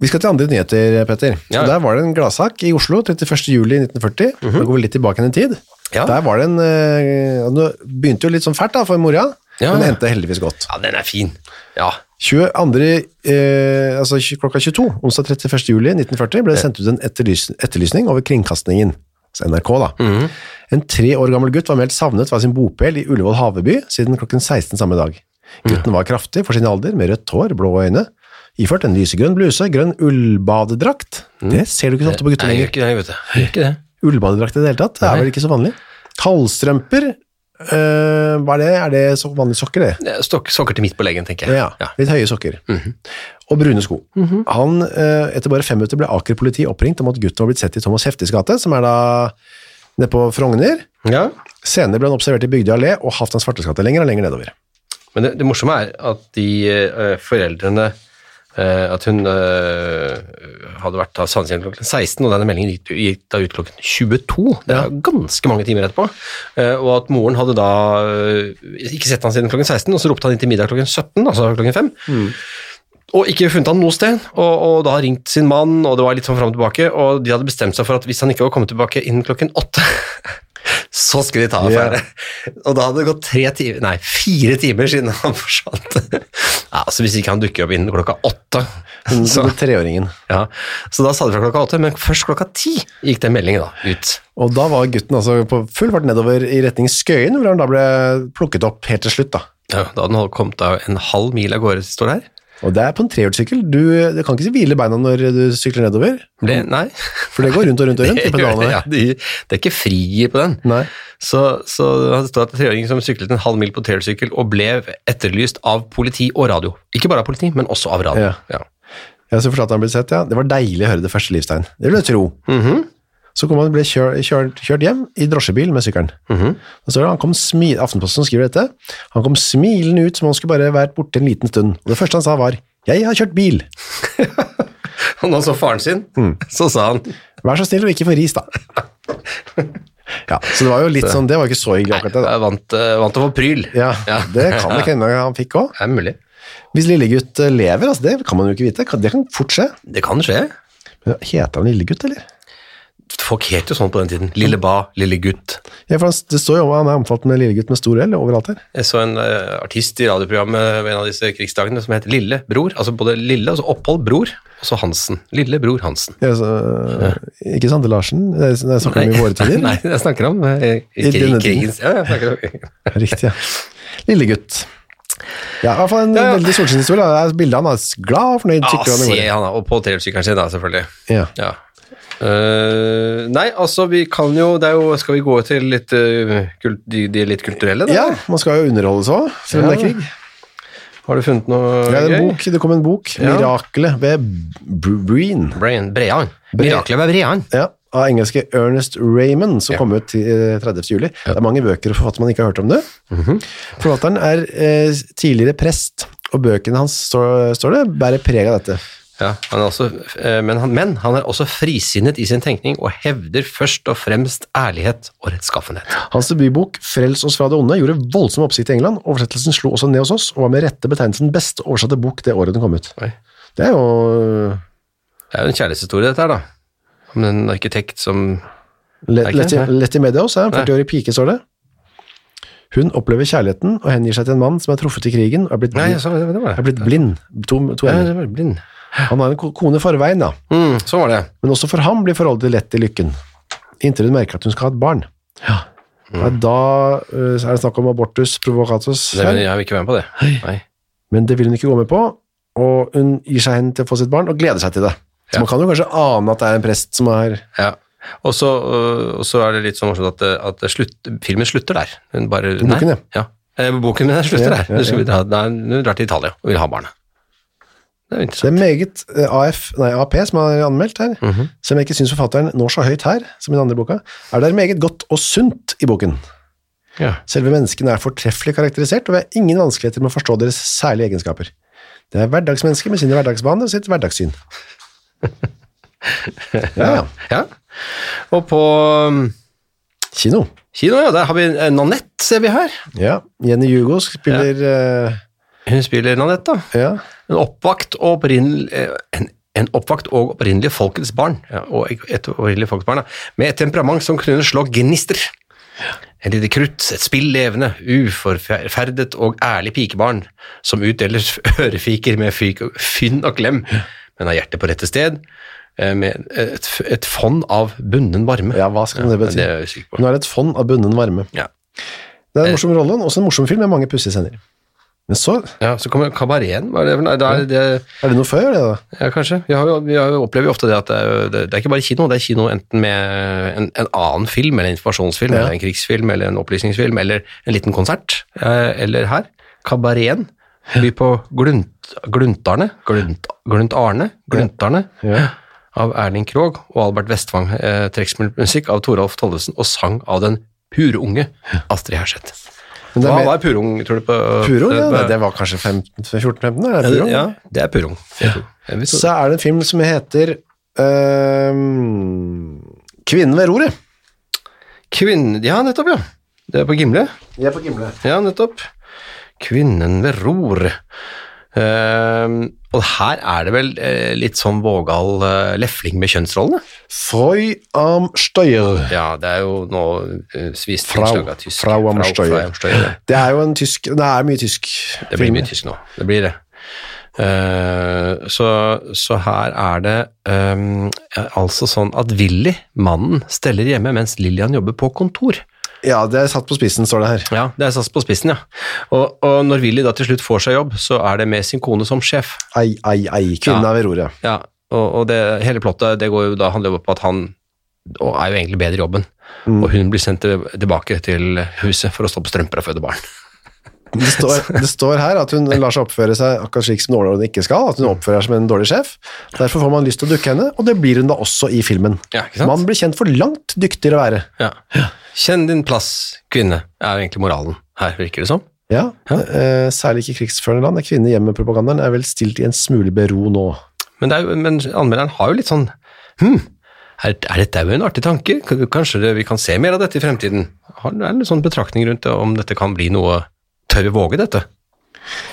Speaker 1: Vi skal til andre nyheter, Petter.
Speaker 2: Ja, ja.
Speaker 1: Og Der var det en gladsak i Oslo 31. juli 1940. Da går vi litt tilbake igjen i tid.
Speaker 2: Ja.
Speaker 1: Der var det en eh, og Nå begynte jo litt sånn fælt da, for mora,
Speaker 2: Ja.
Speaker 1: men det endte heldigvis godt.
Speaker 2: Ja, den er fin. Ja.
Speaker 1: 22, eh, altså tj- klokka 22, onsdag 31. juli 1940, ble det sendt ut en etterlys etterlysning over kringkastingen, altså NRK da.
Speaker 2: Mhm.
Speaker 1: En tre år gammel gutt var meldt savnet fra sin bopel i Ullevål Haveby siden klokken 16 samme dag. Gutten var kraftig for sin alder, med rødt hår, blå øyne, iført en lysegrønn bluse, grønn ullbadedrakt. Det ser du ikke så ofte på gutter
Speaker 2: Mhm. Nei,
Speaker 1: lenger.
Speaker 2: jeg gjør ikke det, vet du. Jeg gjør ikke det.
Speaker 1: Ullbadedrakt i det hele tatt, det er
Speaker 2: Nei.
Speaker 1: vel ikke så vanlig. Kaldstrømper, eh, hva er det? Er det så vanlige sokker det?
Speaker 2: Det er Stokk, sokker til midt på leggen, tenker jeg.
Speaker 1: Ja, litt høye sokker.
Speaker 2: Mhm.
Speaker 1: Og brune sko. Han, eh, etter bare fem minutter ble Aker politi oppringt om at gutten var blitt sett i Thomas Heftes gate, som er da nede på Frogner.
Speaker 2: Ja.
Speaker 1: Senere ble han observert i Bygdøy allé og Halvdan Svartes gate lenger og lenger nedover.
Speaker 2: Men det, det morsomme er at de eh, foreldrene eh, At hun eh, hadde vært da savnet igjen klokken 16, og denne meldingen gikk, gikk da ut klokken 22. Det er ganske mange timer etterpå. Eh, og at moren hadde da eh, ikke sett han siden klokken 16, og så ropte han inn til middag klokken 17, altså klokken 5. Og ikke funnet han noe sted, og, og da har ringt sin mann, og det var litt sånn fram og tilbake, og de hadde bestemt seg for at hvis han ikke var kommet tilbake innen klokken åtte, så skulle de ta
Speaker 1: Ja.
Speaker 2: affære. Og da hadde det gått tre timer, nei, fire timer siden han forsvant. Ja, altså hvis ikke han dukker opp innen klokka åtte,
Speaker 1: Den
Speaker 2: så,
Speaker 1: den treåringen.
Speaker 2: ja. så da sa de fra klokka åtte, men først klokka ti gikk den meldingen da ut.
Speaker 1: Og da var gutten altså på full fart nedover i retning Skøyen, hvor han da ble plukket opp helt til slutt. da.
Speaker 2: Ja, da hadde den holdt- kommet da en halv mil av gårde, står det her.
Speaker 1: Og det er på en trehjulssykkel. Du, du kan ikke hvile beina når du sykler nedover,
Speaker 2: Ble, nei,
Speaker 1: for det går rundt og rundt og rundt i
Speaker 2: det, gjør det, ja,
Speaker 1: pedalene.
Speaker 2: det, det er ikke frigir på den.
Speaker 1: Nei.
Speaker 2: Så, så det står at treåringen som syklet en halv mil på trehjulssykkel og ble etterlyst av politi og radio. Ikke bare av politi, men også av radio.
Speaker 1: Ja. Ja, så forstod jeg at han ble sett, ja. Det var deilig å høre det første livstegn. Det vil jeg tro. Så kom han og ble kjør, kjørt, kjørt hjem i drosjebil med sykkelen. Da står det, han kom smi, Aftenposten skriver dette. Han kom smilende ut som om han skulle bare vært borte en liten stund. Og det første han sa var, jeg har kjørt bil.
Speaker 2: Og nå så faren sin,
Speaker 1: Mm.
Speaker 2: så sa han
Speaker 1: Vær så snill og ikke få ris da. Ja, så det var jo litt sånn, det var ikke så hyggelig akkurat det da.
Speaker 2: jeg er vant, eh, vant til å få pryl.
Speaker 1: Ja,
Speaker 2: Ja.
Speaker 1: det kan det ikke hende han fikk også.
Speaker 2: Det er mulig.
Speaker 1: Hvis lillegutt eh, lever, altså det kan man jo ikke vite. Kan- Det kan fort skje.
Speaker 2: Det kan skje.
Speaker 1: Men Heter han lillegutt, eller?
Speaker 2: Folk het jo sånn på den tiden. Lille ba, lille gutt.
Speaker 1: Ja, for han, det står jo om han er omtalt med lillegutt med stor L overalt her.
Speaker 2: Jeg så en eh, artist i radioprogrammet ved en av disse krigsdagene som het Lille Bror. Altså både Lille, altså Opphold Bror, og så Hansen. Lille Bror Hansen.
Speaker 1: Ja, så, øh, ikke Sande Larsen? Det er- det snakker vi om i våre tider.
Speaker 2: Nei, jeg snakker om eh,
Speaker 1: I
Speaker 2: krig,
Speaker 1: denne tiden.
Speaker 2: krigens Ja, jeg snakker om
Speaker 1: Riktig, ja. Lille gutt. Ja, i hvert fall en
Speaker 2: ja.
Speaker 1: veldig solskinnshistorie. da. Det er Bildet han er glad og fornøyd.
Speaker 2: Ja,
Speaker 1: sykler han i
Speaker 2: se
Speaker 1: går.
Speaker 2: han da, og på trehjulssykkelen sin da, selvfølgelig.
Speaker 1: Ja.
Speaker 2: Ja. Eh, nei, altså vi kan jo, det er jo Skal vi gå til litt, eh, kul- de, de litt kulturelle, da?
Speaker 1: ja, man skal jo underholdes òg, selv om det er krig.
Speaker 2: Har du funnet noe
Speaker 1: Det, er en
Speaker 2: gøy?
Speaker 1: bok, det kom en bok,
Speaker 2: Ja.
Speaker 1: 'Mirakelet ved Br- Breen',
Speaker 2: Brian, Brean.
Speaker 1: Bre-
Speaker 2: Miraklet ved Brean.
Speaker 1: ja, av engelske Ernest Raymond, som
Speaker 2: Ja.
Speaker 1: kom ut til, eh, 30. juli. Det er mange bøker og forfattere man ikke har hørt om det.
Speaker 2: Mhm.
Speaker 1: Forfatteren er eh, tidligere prest, og bøkene hans, står, står det, bærer preg av dette.
Speaker 2: Ja, han er også, eh, men, han, men han er også frisinnet i sin tenkning og hevder først og fremst ærlighet og rettskaffenhet.
Speaker 1: Hans debutbok 'Frels oss fra det onde' gjorde voldsom oppsikt i England. Oversettelsen slo også ned hos oss, og var med rette betegnelsen beste oversatte bok det året den kom ut.
Speaker 2: Oi.
Speaker 1: Det er jo eh,
Speaker 2: Det er jo en kjærlighetshistorie, dette her, da. Om en arkitekt som
Speaker 1: Let-
Speaker 2: Er ikke det?
Speaker 1: Letty Letty Meadows, ja. 40 år i pike, står det. Hun opplever kjærligheten og hengir seg til en mann som er truffet i krigen og er blitt
Speaker 2: Nei,
Speaker 1: blind.
Speaker 2: så, det var
Speaker 1: Er
Speaker 2: det.
Speaker 1: blitt blind. To, to
Speaker 2: Ja,
Speaker 1: ender.
Speaker 2: det var blind.
Speaker 1: Han har en ko- kone i forveien, da.
Speaker 2: Mm, sånn var det.
Speaker 1: Men også for ham blir forholdet lett i lykken, inntil hun merker at hun skal ha et barn. Ja, Da eh, er det snakk om abortus provocatus,
Speaker 2: det.
Speaker 1: her,
Speaker 2: Jeg vil ikke være med på det. Nei.
Speaker 1: men det vil hun ikke gå med på, og hun gir seg hen til å få sitt barn og gleder seg til det. Så
Speaker 2: Ja.
Speaker 1: man kan jo kanskje ane at det er en prest som er
Speaker 2: Ja. Og så, øh, og så er det litt sånn morsomt at, det- at det slutt, filmen slutter der. Hun bare, nei.
Speaker 1: boken, ja.
Speaker 2: ja. Eh, Boken min
Speaker 1: Ja,
Speaker 2: slutter der.
Speaker 1: ja,
Speaker 2: Hun, skal, dra- nei, hun drar til Italia og vil ha barnet. Det er jo
Speaker 1: Det
Speaker 2: interessant.
Speaker 1: er meget eh, AF, nei, AP som er anmeldt her, selv om jeg ikke syns forfatteren når så høyt her, som i den andre boka, er det meget godt og sunt i boken.
Speaker 2: Ja.
Speaker 1: Selve menneskene er fortreffelig karakterisert, og vi har ingen vanskeligheter med å forstå deres særlige egenskaper. Det er hverdagsmennesker med sine hverdagsvaner og sitt hverdagssyn. Ja, ja.
Speaker 2: ja. Og på um,
Speaker 1: Kino.
Speaker 2: kino, ja, der har vi eh, Nanette, ser vi her.
Speaker 1: Ja. Jenny Hugo spiller eh,
Speaker 2: Hun spiller Nanette, da.
Speaker 1: ja.
Speaker 2: En oppvakt og opprinnel- eh, en, en oppvakt og opprinnelig folkets barn, ja, og et opprinnelig folkets barn, da, med et temperament som kunne slå gnister. Et lite krutt, et spill levende, uforferdet og ærlig pikebarn, som utdeler ørefiker med fyk, fynn og klem, men har hjertet på rette sted, eh, med et, et fond av bunnen varme.
Speaker 1: ja, hva skal det
Speaker 2: men
Speaker 1: bety?
Speaker 2: det er jeg sikker på.
Speaker 1: Hun har et fond av bunnen varme.
Speaker 2: Ja. Eh.
Speaker 1: Det er en morsom rolle, og også en morsom film med mange pussige scener. Men så
Speaker 2: ja, så kommer kabareten. Hva er det for noe? Da er det-
Speaker 1: er det noe før det, da.
Speaker 2: Ja, kanskje. Vi, har jo, vi har jo opplever jo ofte det at det er, jo- det, det er ikke bare kino, det er kino enten med en, en annen film, eller en informasjonsfilm,
Speaker 1: Ja.
Speaker 2: eller en krigsfilm, eller en opplysningsfilm, eller en liten konsert, eh, eller her. Kabareten. By på Glunt, Gluntarne, Glunt, Gluntarne, Gluntarne,
Speaker 1: Ja.
Speaker 2: av Erling Krog og Albert Vestvang. Eh, Trekkspillmusikk av Toralf Tollesen, og sang av den purunge Astrid Herseth.
Speaker 1: Men det
Speaker 2: Hva
Speaker 1: er mer
Speaker 2: var purung, tror du? på?
Speaker 1: Purung, ja. Nei,
Speaker 2: det,
Speaker 1: det var kanskje 14-15? Er det
Speaker 2: det,
Speaker 1: Purung?
Speaker 2: ja, det er purung. Ja. Jeg vil tro-
Speaker 1: Så er det en film som heter ehm, Kvinnen ved roret.
Speaker 2: Kvinne... Ja, nettopp, ja. Det er på Gimle.
Speaker 1: Jeg er på Gimle.
Speaker 2: Ja, nettopp. Kvinnen ved ror. Ehm, og her er det vel eh, litt sånn vågal eh, lefling med kjønnsrollene?
Speaker 1: Frøy am Støyer.
Speaker 2: Ja, det er jo nå eh, svist
Speaker 1: Frau.
Speaker 2: innslag av tysk.
Speaker 1: Frau am Steuer.
Speaker 2: Frau am Steuer.
Speaker 1: Det er jo en tysk Det er mye tysk.
Speaker 2: Det blir mye tysk nå. Det blir det. Eh, så, så her er det ehm, eh, altså sånn at Willy, mannen, steller hjemme mens Lillian jobber på kontor.
Speaker 1: Ja, det er satt på spissen, står det her.
Speaker 2: Ja, det er satt på spissen, ja. Og, og når Willy da til slutt får seg jobb, så er det med sin kone som sjef.
Speaker 1: Ei, ei, ei. Kvinnen
Speaker 2: Ja.
Speaker 1: ved roret.
Speaker 2: Ja, og, og det, hele plottet det går jo da handler jo om at han og er jo egentlig bedre i jobben, og hun blir sendt til- tilbake til huset for å stå på strømper og føde barn.
Speaker 1: Det står, det står her at hun lar seg oppføre seg akkurat slik som hun ikke skal. At hun oppfører seg som en dårlig sjef. Derfor får man lyst til å dukke henne, og det blir hun da også i filmen.
Speaker 2: Ja, ikke sant?
Speaker 1: Man blir kjent for langt dyktigere å være.
Speaker 2: Ja. Kjenn din plass, kvinne, er jo egentlig moralen her, virker det som.
Speaker 1: Ja, eh, Særlig ikke i krigsførende land. Kvinner hjemme propagandaen er vel stilt i en smule bero nå.
Speaker 2: Men, det er, jo- men anmelderen har jo litt sånn Hm, er, er dette jo en artig tanke? K- Kanskje det, vi kan se mer av dette i fremtiden? Har det er en sånn betraktning rundt det, om dette kan bli noe Tør vi våge dette?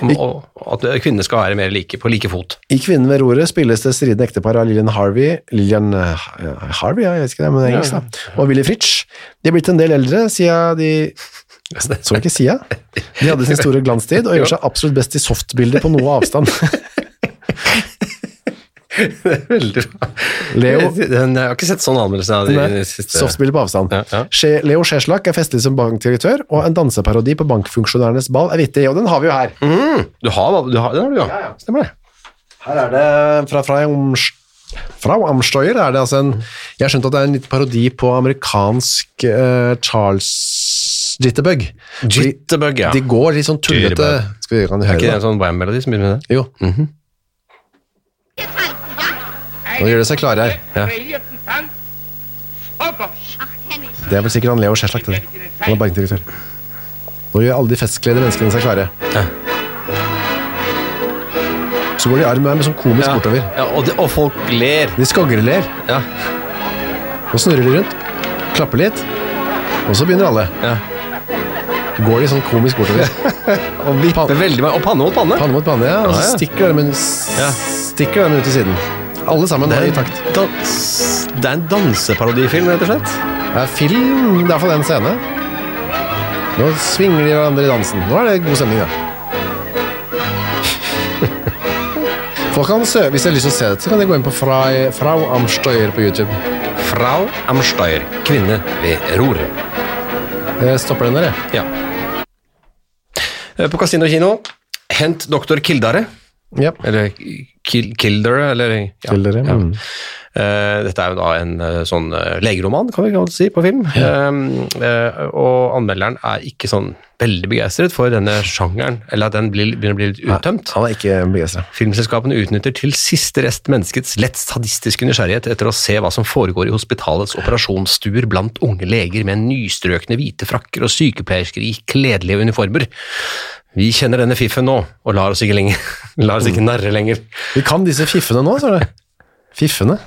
Speaker 2: Om, og, at kvinner skal være mer like, på like fot.
Speaker 1: I Kvinnen ved roret spilles det stridende ektepar av Lillian Harvey Lillian eh, Harvey, ja, jeg vet ikke det, men det er engelsk, da. Og Willy Fritsch. De er blitt en del eldre, siden de Så jeg ikke sida? De hadde sin store glanstid og gjør seg absolutt best i softbilder på noe avstand.
Speaker 2: Veldig bra.
Speaker 1: Leo-
Speaker 2: Den, jeg har ikke sett sånn anmeldelse av de, de siste
Speaker 1: Softbilder på avstand.
Speaker 2: Ja, ja.
Speaker 1: Skje- Leo Skjeslak er festlig som bankdirektør, og en danseparodi på bankfunksjonærenes ball er vittig, og den har vi jo her.
Speaker 2: Mm, du har, du har, den har du, ja. Stemmer det.
Speaker 1: Her er det fra Frau Amst- Frau Amstøyer er det altså en Jeg har skjønt at det er en liten parodi på amerikansk eh, Charles Jitterbug. Fordi
Speaker 2: Jitterbug, ja.
Speaker 1: De går litt sånn tullete
Speaker 2: Jitterbug.
Speaker 1: Skal vi kan du
Speaker 2: Er ikke det
Speaker 1: høre det?
Speaker 2: en sånn Wham-melodi som begynner med det? Mhm.
Speaker 1: Jo. Nå gjør det seg klare her.
Speaker 2: Ja.
Speaker 3: Reierten Tanz. Oh Gott,
Speaker 1: Det er vel sikkert han Leo Skjeslak, det. Han er bankdirektør. Nå gjør alle de festkledde menneskene seg klare.
Speaker 2: Ja.
Speaker 1: Så går de i arm med sånn komisk bortover.
Speaker 2: Ja, og, det- og folk ler.
Speaker 1: De skoggerler
Speaker 2: Ja.
Speaker 1: og snurrer de rundt. Klapper litt. Og så begynner alle.
Speaker 2: Ja.
Speaker 1: Går de sånn komisk bortover.
Speaker 2: Og vipper veldig meg. Og panne mot panne.
Speaker 1: Panne mot panne, ja. Og
Speaker 2: Ja,
Speaker 1: så
Speaker 2: ja.
Speaker 1: stikker armen,
Speaker 2: Ja.
Speaker 1: stikker armen ut til siden. Alle sammen
Speaker 2: Det
Speaker 1: da,
Speaker 2: er
Speaker 1: i
Speaker 2: en
Speaker 1: takt.
Speaker 2: dans, det er en danseparodifilm, rett og slett.
Speaker 1: Det er film, det er for den scenen. Nå svinger de hverandre i dansen. Nå er det god stemning, da. Folk kan sø Hvis de har lyst til å se dette, så kan de gå inn på Fra, Frau Amstøyer på YouTube.
Speaker 2: Frau Amsteyr, kvinne ved roret.
Speaker 1: Jeg stopper den der, jeg.
Speaker 2: Ja. Eh, På Casino kino, hent doktor Kildare.
Speaker 1: Ja.
Speaker 2: Eller Kil Kildare, eller ja.
Speaker 1: Kildare,
Speaker 2: ja.
Speaker 1: mm.
Speaker 2: Eh, dette er jo da en eh, sånn eh, legeroman, kan vi godt si, på film. Eh, eh, og anmelderen er ikke sånn veldig begeistret for denne sjangeren, eller at den blir, begynner å bli litt uttømt.
Speaker 1: Han er ikke begeistra.
Speaker 2: Filmselskapene utnytter til siste rest menneskets lett sadistiske nysgjerrighet etter å se hva som foregår i hospitalets operasjonsstuer blant unge leger med nystrøkne hvite frakker og sykepleiersker i kledelige uniformer. Vi kjenner denne fiffen nå, og lar oss ikke, lenger, lar oss ikke narre lenger.
Speaker 1: Vi kan disse fiffene nå, sa du. Fiffene?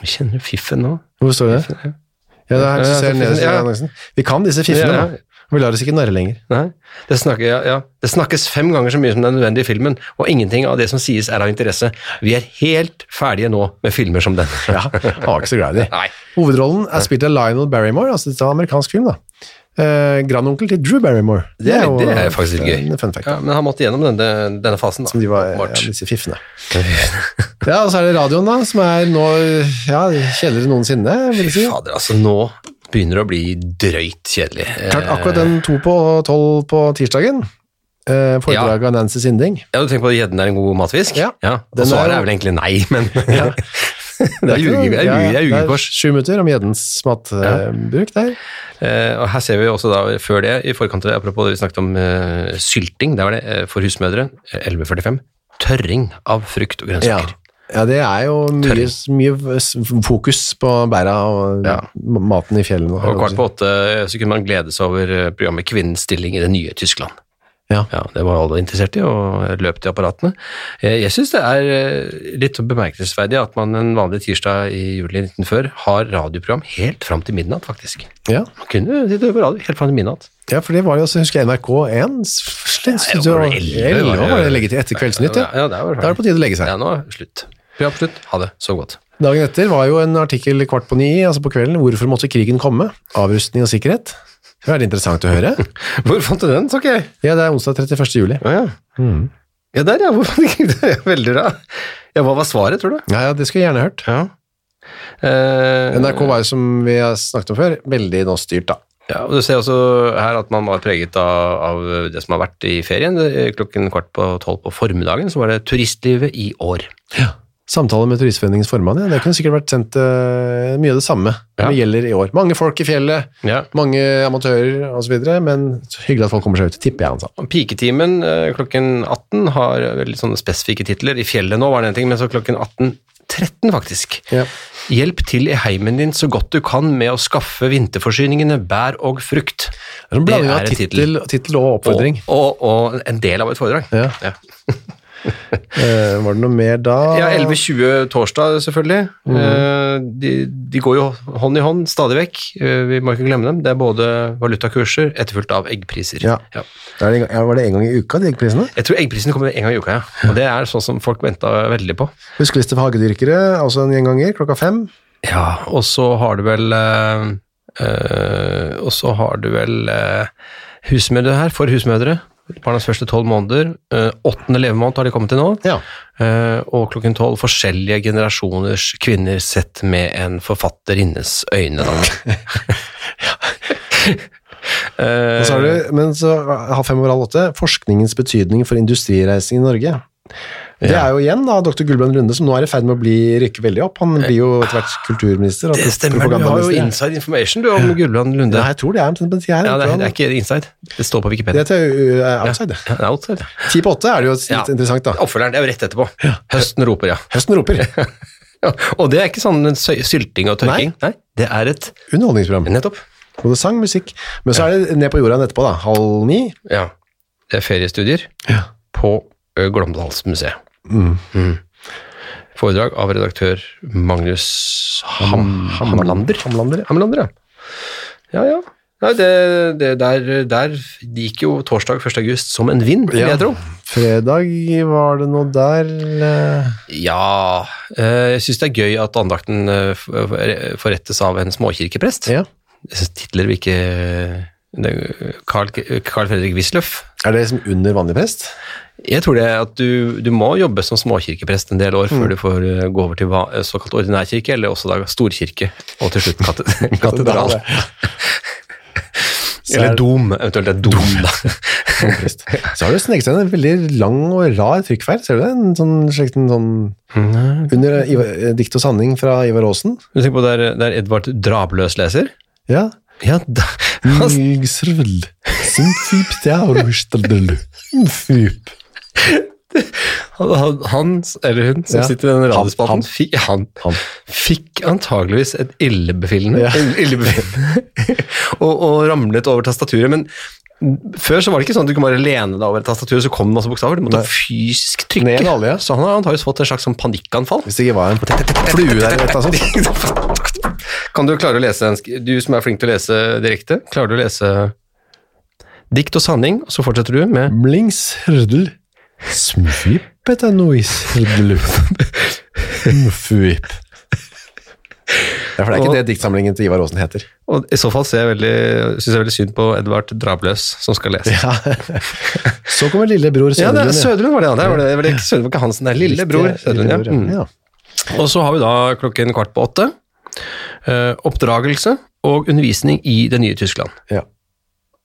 Speaker 2: Vi kjenner fiffen nå.
Speaker 1: Hvor står det? Ja, det er her,
Speaker 2: Ja,
Speaker 1: du ser
Speaker 2: fiffene,
Speaker 1: nederst i
Speaker 2: ja.
Speaker 1: annonsen. Vi kan disse fiffene
Speaker 2: Ja, ja.
Speaker 1: nå. Vi lar oss ikke narre lenger.
Speaker 2: Nei, det, snakker, ja, ja. det snakkes fem ganger så mye som det er nødvendig i filmen, og ingenting av det som sies er av interesse. Vi er helt ferdige nå med filmer som denne.
Speaker 1: Ja, han var ikke så glad i
Speaker 2: Nei.
Speaker 1: det. Hovedrollen er spilt av Lionel Barrymore, altså dette er en amerikansk film da. Eh, grandonkel til Drew Barrymore.
Speaker 2: Det er,
Speaker 1: jo
Speaker 2: det er faktisk litt gøy.
Speaker 1: en Fun fact.
Speaker 2: Ja, men han måtte gjennom denne, denne fasen, da.
Speaker 1: Som de var, ja,
Speaker 2: åpenbart.
Speaker 1: disse fiffene. Ja, og så er det radioen da, som er nå, ja, kjedeligere enn noensinne, vil jeg
Speaker 2: Fy
Speaker 1: si.
Speaker 2: fader, altså nå begynner det å bli drøyt kjedelig. Eh,
Speaker 1: Klart akkurat den to på og tolv på tirsdagen, eh, foredraget av Nancy Sinding.
Speaker 2: Ja, du tenker på at gjedden er en god matfisk?
Speaker 1: Ja.
Speaker 2: Og
Speaker 1: Den
Speaker 2: svaret
Speaker 1: er-
Speaker 2: er vel egentlig nei, men Det er ljuge- det er ljuge- det er
Speaker 1: jugekors.
Speaker 2: ljugekors.
Speaker 1: Sju minutter om gjeddens matbruk der.
Speaker 2: Eh, og her ser vi også da, før det, i forkant av det, apropos det vi snakket om eh, sylting, det var det, eh, for husmødre, eh, 11.45, tørring av frukt og
Speaker 1: Ja.
Speaker 2: grønnsaker.
Speaker 1: ja, det er jo mye, mye s- fokus på bæra og
Speaker 2: Ja.
Speaker 1: m- maten i fjellene.
Speaker 2: Og kvart på åtte eh, så kunne man glede seg over eh, programmet Kvinnens stilling i det nye Tyskland.
Speaker 1: Ja.
Speaker 2: Eh,
Speaker 1: Ja.
Speaker 2: Man kunne sitte på radio helt fram til midnatt.
Speaker 1: ja, for det var jo, så husker jeg NRK1,
Speaker 2: det var vel elleve, var det.
Speaker 1: var det legget til etter Kveldsnytt,
Speaker 2: Ja, ja, det er vel
Speaker 1: Da er det på tide å legge seg.
Speaker 2: Ja, nå er det slutt. Program slutt. Ha det. Sov godt.
Speaker 1: Dagen etter var jo en artikkel kvart på ni, altså på kvelden, hvorfor måtte krigen komme? Avrustning og sikkerhet. Det er interessant å høre.
Speaker 2: Hvor fant du den, Mm. sa ikke jeg?
Speaker 1: Ja, det er onsdag 31. juli.
Speaker 2: Å ja. Ja, der, ja. Hvor fant du den? Det er Veldig bra. Ja, hva var svaret, tror du?
Speaker 1: Ja, ja, det skulle jeg gjerne hørt.
Speaker 2: Ja. Eh,
Speaker 1: NRK var jo, som vi har snakket om før, veldig nå styrt, da.
Speaker 2: Ja, og Du ser også her at man var preget av, av det som har vært i ferien. Klokken kvart på tolv på formiddagen så var det turistlivet i år.
Speaker 1: Samtale med Turistforeningens formann, ja. Det kunne sikkert vært sendt eh, mye av det samme.
Speaker 2: Ja.
Speaker 1: Det gjelder i år. Mange folk i fjellet,
Speaker 2: Ja.
Speaker 1: mange amatører osv., men hyggelig at folk kommer seg ut. Tipper jeg altså. han sa.
Speaker 2: Og Piketimen eh, klokken 18 har veldig sånne spesifikke titler. I fjellet nå var det en ting, men så klokken 18.13 faktisk.
Speaker 1: Ja.
Speaker 2: Hjelp til i heimen din så godt du kan med å skaffe vinterforsyningene bær og frukt.
Speaker 1: Det er en blanding
Speaker 2: Det
Speaker 1: av
Speaker 2: er en
Speaker 1: tittel, tittel og
Speaker 2: Og,
Speaker 1: oppfordring.
Speaker 2: og, og en del av et foredrag.
Speaker 1: Ja.
Speaker 2: Ja.
Speaker 1: Eh, var det noe mer da?
Speaker 2: Ja, 11.20 torsdag, selvfølgelig. Eh, De, de går jo hånd i hånd stadig vekk. Eh, Vi må ikke glemme dem. Det er både valutakurser etterfulgt av eggpriser.
Speaker 1: Ja.
Speaker 2: Ja.
Speaker 1: Da er det en gang- ja, var det en gang i uka, de prisene?
Speaker 2: Jeg tror eggprisen kommer en gang i uka, ja. Og det er sånn som folk venta veldig på.
Speaker 1: Huskeliste for hagedyrkere, altså en gjenganger, klokka fem.
Speaker 2: Ja, og så har du vel eh, eh, Og så har du vel eh, husmødre her, for husmødre. Barnas første tolv måneder. Eh, Åttende levemåned har de kommet til nå.
Speaker 1: Ja.
Speaker 2: Eh, og klokken tolv forskjellige generasjoners kvinner sett med en forfatterinnes øyne. Da. Eh,
Speaker 1: Og så har du, men så har fem over halv åtte forskningens betydning for industrireising i Norge. Det er jo igjen da, dr. Gullbrand Runde, som nå er i ferd med å bli, rykke veldig opp. Han blir jo etter hvert kulturminister. og
Speaker 2: det stemmer, du har jo
Speaker 1: propagandaminister.
Speaker 2: inside information du, om Gulland Lunde.
Speaker 1: Ja, jeg tror det er omtrent på den tida her.
Speaker 2: Ja, det,
Speaker 1: jeg
Speaker 2: er,
Speaker 1: tror
Speaker 2: det er
Speaker 1: han-
Speaker 2: ikke inside, det står på
Speaker 1: det
Speaker 2: Wikipedia.
Speaker 1: er til uh, outside.
Speaker 2: Ja, det er outside.
Speaker 1: Ti på åtte er det jo litt
Speaker 2: Ja.
Speaker 1: interessant, da.
Speaker 2: Oppfølgeren, det er jo rett etterpå. Høsten roper, ja.
Speaker 1: Høsten roper.
Speaker 2: ja. Og det er ikke sånn en søy- sylting og tørking. Nei. det er et
Speaker 1: Underholdningsprogram.
Speaker 2: Nettopp.
Speaker 1: Både sang, musikk. Men så er det ned på jorda igjen etterpå, da. Halv ni.
Speaker 2: Ja. Det er feriestudier på ø, Glåmdalsmuseet. Mm. Foredrag av redaktør Magnus Ham Hamlander.
Speaker 1: Hamlander, ja.
Speaker 2: Hamlander, ja. Ja, ja. Nei, det, det der, der gikk jo torsdag 1. august som en vind, vil
Speaker 1: Ja.
Speaker 2: jeg tro.
Speaker 1: Fredag var det noe der eh,
Speaker 2: Ja, eh, jeg syns det er gøy at andakten eh, f- forrettes av en småkirkeprest.
Speaker 1: Ja.
Speaker 2: Jeg synes titler vi ikke det- Carl, Carl Fredrik Wisløff.
Speaker 1: Er det liksom under vanlig prest?
Speaker 2: Jeg tror det at du, du må jobbe som småkirkeprest en del år
Speaker 1: Mm.
Speaker 2: før du får eh, gå over til va- såkalt ordinærkirke, eller også da storkirke, og til slutt kate- katedral.
Speaker 1: er-
Speaker 2: Eller dom, eventuelt det er dom, da.
Speaker 1: Prest. Så har du sneket seg inn en veldig lang og rar trykkfeil, ser du det? En sånn, slik en sånn under Ivar, eh, dikt og sanning fra Ivar Aasen.
Speaker 2: Du tenker på der, der Edvard Drabløs leser?
Speaker 1: Ja.
Speaker 2: Ja, da,
Speaker 1: Mm.
Speaker 2: han,
Speaker 1: Mygsrøl. Simfyp, det er rustadøl. Simfyp.
Speaker 2: han, han, eller hun, som
Speaker 1: Ja.
Speaker 2: sitter i den
Speaker 1: Han- han.
Speaker 2: radiospalten, fikk, han,
Speaker 1: Han.
Speaker 2: fikk antageligvis et illebefinnende,
Speaker 1: Ja.
Speaker 2: ill- illebefinnende og, og ramlet over tastaturet, men før så var det ikke sånn at du kunne bare lene deg over et tastatur, så kom det masse bokstaver, du måtte
Speaker 1: Nei.
Speaker 2: fysisk
Speaker 1: Ned
Speaker 2: trykke.
Speaker 1: i alle, ja.
Speaker 2: Så han har antageligvis fått en slags sånn panikkanfall.
Speaker 1: Hvis det ikke var en flue der, altså. eller et eller annet sånt.
Speaker 2: Kan du klare å lese en sk- Du som er flink til å lese direkte, klarer du å lese dikt og sanning, og så fortsetter du med
Speaker 1: Mlingsrøl. Simfyp, det er noisrøl. Simfyp. Ja, for det er ikke det diktsamlingen til Ivar Aasen heter.
Speaker 2: Og i så fall ser jeg veldig, synes jeg veldig synd på Edvard Drabløs, som skal lese.
Speaker 1: Ja. Så kommer lillebror
Speaker 2: Ja, det
Speaker 1: Sødlund.
Speaker 2: er Sødlund var det, ja. Det var det, det var det ikke Sødlund, det var ikke Hansen, det er lillebror Sødlund, ja. Mm.
Speaker 1: ja.
Speaker 2: Og så har vi da klokken kvart på åtte, eh, oppdragelse og undervisning i det nye Tyskland.
Speaker 1: Ja.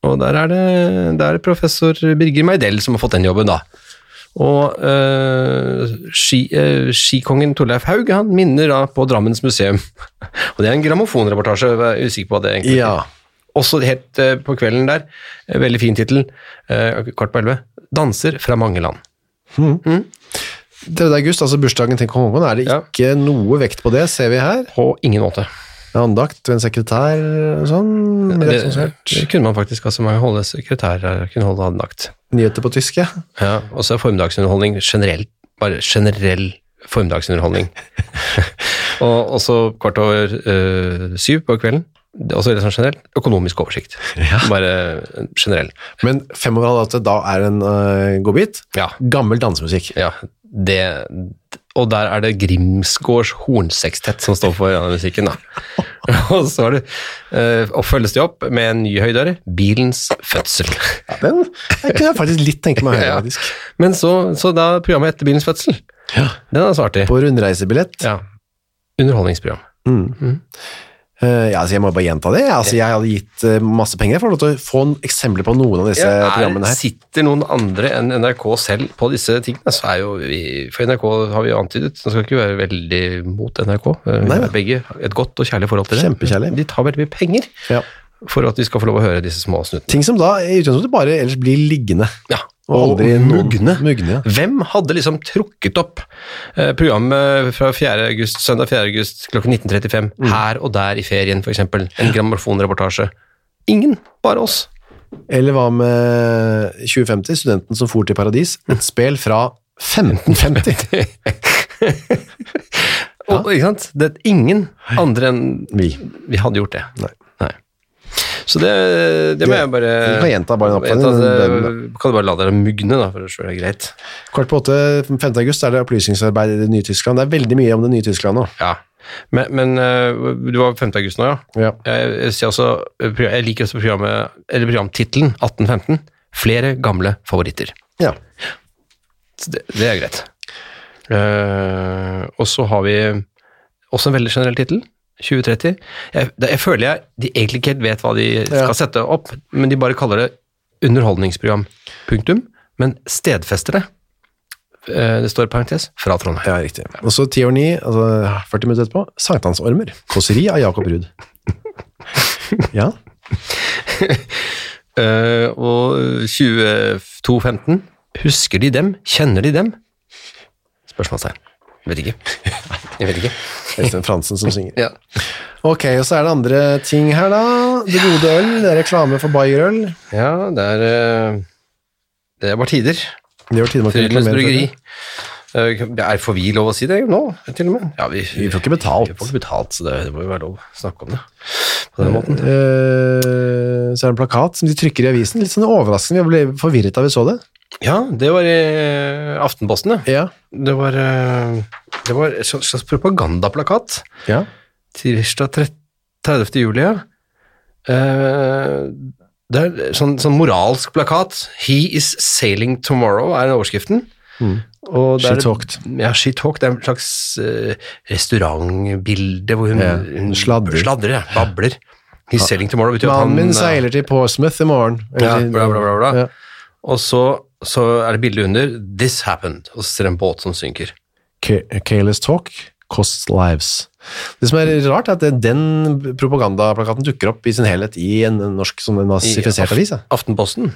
Speaker 2: Og der er det, der er det professor Birger Meidel som har fått den jobben, da. Og eh, ski, eh, skikongen Torleif Haug han minner da på Drammens museum. Og det er en grammofonreportasje, jeg er usikker på hva det egentlig
Speaker 1: Ja.
Speaker 2: Også helt eh, på kvelden der, eh, veldig fin tittel, eh, kvart på elleve, 'Danser fra mange land'.
Speaker 1: 3. august, altså bursdagen til kong Haakon, er det
Speaker 2: Ja.
Speaker 1: ikke noe vekt på det, ser vi her.
Speaker 2: På ingen måte.
Speaker 1: Det er Andakt ved en sekretær og sånn. med
Speaker 2: Det,
Speaker 1: rett som skjert.
Speaker 2: det kunne man faktisk ha så mange holde sekretærer kunne holde andakt.
Speaker 1: Nyheter på tysk, ja.
Speaker 2: Ja, og så er formiddagsunderholdning generelt, bare generell formiddagsunderholdning. og og så kvart over eh, syv på kvelden, det er også litt sånn generelt, økonomisk oversikt. Bare eh, generell.
Speaker 1: Men fem over halv åtte, da er en uh, godbit.
Speaker 2: Ja.
Speaker 1: Gammel dansemusikk.
Speaker 2: Ja, det Og der er det Grimsgårds hornsekstett som står for denne musikken, da. Og så er det, eh, og følges det opp med en ny høydare, bilens fødsel.
Speaker 1: Den jeg kunne jeg faktisk litt tenke meg å høre,
Speaker 2: Ja.
Speaker 1: faktisk.
Speaker 2: Men så, så da programmet etter bilens fødsel,
Speaker 1: Ja.
Speaker 2: den er så artig.
Speaker 1: På rundreisebillett. Ja.
Speaker 2: Ja. Underholdningsprogram. Mm.
Speaker 1: ja, altså jeg må bare gjenta det. Altså, jeg hadde gitt eh, masse penger for å få lov til å få en eksempler på noen av disse
Speaker 2: Ja, er-
Speaker 1: programmene her.
Speaker 2: Sitter noen andre enn NRK selv på disse tingene, så er jo vi For NRK har vi jo antydet, så skal ikke være veldig mot NRK. Eh, Vi
Speaker 1: Nei,
Speaker 2: har
Speaker 1: nei.
Speaker 2: begge et godt og kjærlig forhold til det.
Speaker 1: Kjempekjærlig.
Speaker 2: De tar veldig mye penger
Speaker 1: Ja.
Speaker 2: for at vi skal få lov å høre disse små snuttene.
Speaker 1: Ting som da i utgangspunktet bare ellers blir liggende.
Speaker 2: Ja,
Speaker 1: Og aldri noen-
Speaker 2: mugne.
Speaker 1: mugne, ja.
Speaker 2: Hvem hadde liksom trukket opp eh, programmet fra 4. August, søndag 4. august klokken 19.35
Speaker 1: Mm.
Speaker 2: her og der i ferien, f.eks.? En grammofonreportasje. Ingen, bare oss.
Speaker 1: Eller hva med 2050, studenten som for til paradis? Et spel fra 1550.
Speaker 2: Og, ikke sant? Det er ingen andre enn
Speaker 1: Vi.
Speaker 2: vi hadde gjort det.
Speaker 1: Nei.
Speaker 2: Så det, det må
Speaker 1: Det-
Speaker 2: jeg bare
Speaker 1: vi kan gjenta bare en oppfordring,
Speaker 2: Gjenta det-
Speaker 1: men
Speaker 2: Kan du bare la dere mugne, da, for så er det greit.
Speaker 1: Kvart på åtte, 5. august, er det opplysningsarbeid i det nye Tyskland. Det er veldig mye om det nye Tyskland nå.
Speaker 2: Ja. Men, men øh, du var 5. august nå, ja?
Speaker 1: Ja.
Speaker 2: Jeg, jeg, ser også, øh, program- jeg liker også programmet, eller programtittelen 1815. Flere gamle favoritter.
Speaker 1: ja.
Speaker 2: Så det, det er greit. Eh, og så har vi også en veldig generell tittel. 2030. Jeg, det- jeg føler jeg de egentlig ikke helt vet hva de skal
Speaker 1: Ja.
Speaker 2: sette opp, men de bare kaller det underholdningsprogram. Punktum. Men stedfester det. Eh, det står parentes fra Trondheim.
Speaker 1: ja, riktig. Og så ti over ni, altså 40 minutter etterpå, Sankthansormer. Kåseri av Jakob Ruud. Ja.
Speaker 2: Eh, og 2215. Husker de dem? Kjenner de dem? Spørsmålstegn. Vet ikke. Jeg vet ikke.
Speaker 1: Øystein Fransen som synger.
Speaker 2: Ja.
Speaker 1: Ok, og så er det andre ting her, da. Det gode øl, det er reklame for Bayerøl.
Speaker 2: Ja, det er eh, Det var tider.
Speaker 1: Det gjør tiden man kan
Speaker 2: Frydenløs
Speaker 1: reklamere for
Speaker 2: bryggeri.
Speaker 1: det.
Speaker 2: Eh, Er får vi lov å si det nå, til og med? Ja, vi,
Speaker 1: Vi får ikke betalt.
Speaker 2: Vi får ikke betalt, så det, det må jo være lov å snakke om det på den måten.
Speaker 1: Eh, så er det en plakat som de trykker i avisen. Litt sånn overraskende, vi ble forvirret da vi så det.
Speaker 2: Ja, det var i Aftenposten, ja.
Speaker 1: Ja.
Speaker 2: Det var, eh, det var en slags slags propagandaplakat.
Speaker 1: ja.
Speaker 2: Tirsdag tre- 30. juli, ja. Eh, det er sånn, sånn moralsk plakat. 'He is sailing tomorrow' er overskriften.
Speaker 1: Mm.
Speaker 2: Og
Speaker 1: She
Speaker 2: det er-
Speaker 1: talked.
Speaker 2: Ja, she talked. Det er en slags eh, restaurantbilde hvor hun,
Speaker 1: Ja,
Speaker 2: hun
Speaker 1: sladrer.
Speaker 2: ja, babler. 'He's sailing tomorrow' betyr at han
Speaker 1: Mannen min
Speaker 2: eh,
Speaker 1: seiler til Portsmouth i morgen.
Speaker 2: Ja, bla, bla, bla, bla.
Speaker 1: Ja.
Speaker 2: eh, Og så, så er det bildet under 'This happened', og så ser det en båt som synker.
Speaker 1: Ca- Careless talk costs lives. Det som er rart, er at den propagandaplakaten dukker opp i sin helhet i en norsk sånn en nazifisert
Speaker 2: I
Speaker 1: avis. ja.
Speaker 2: Aftenposten.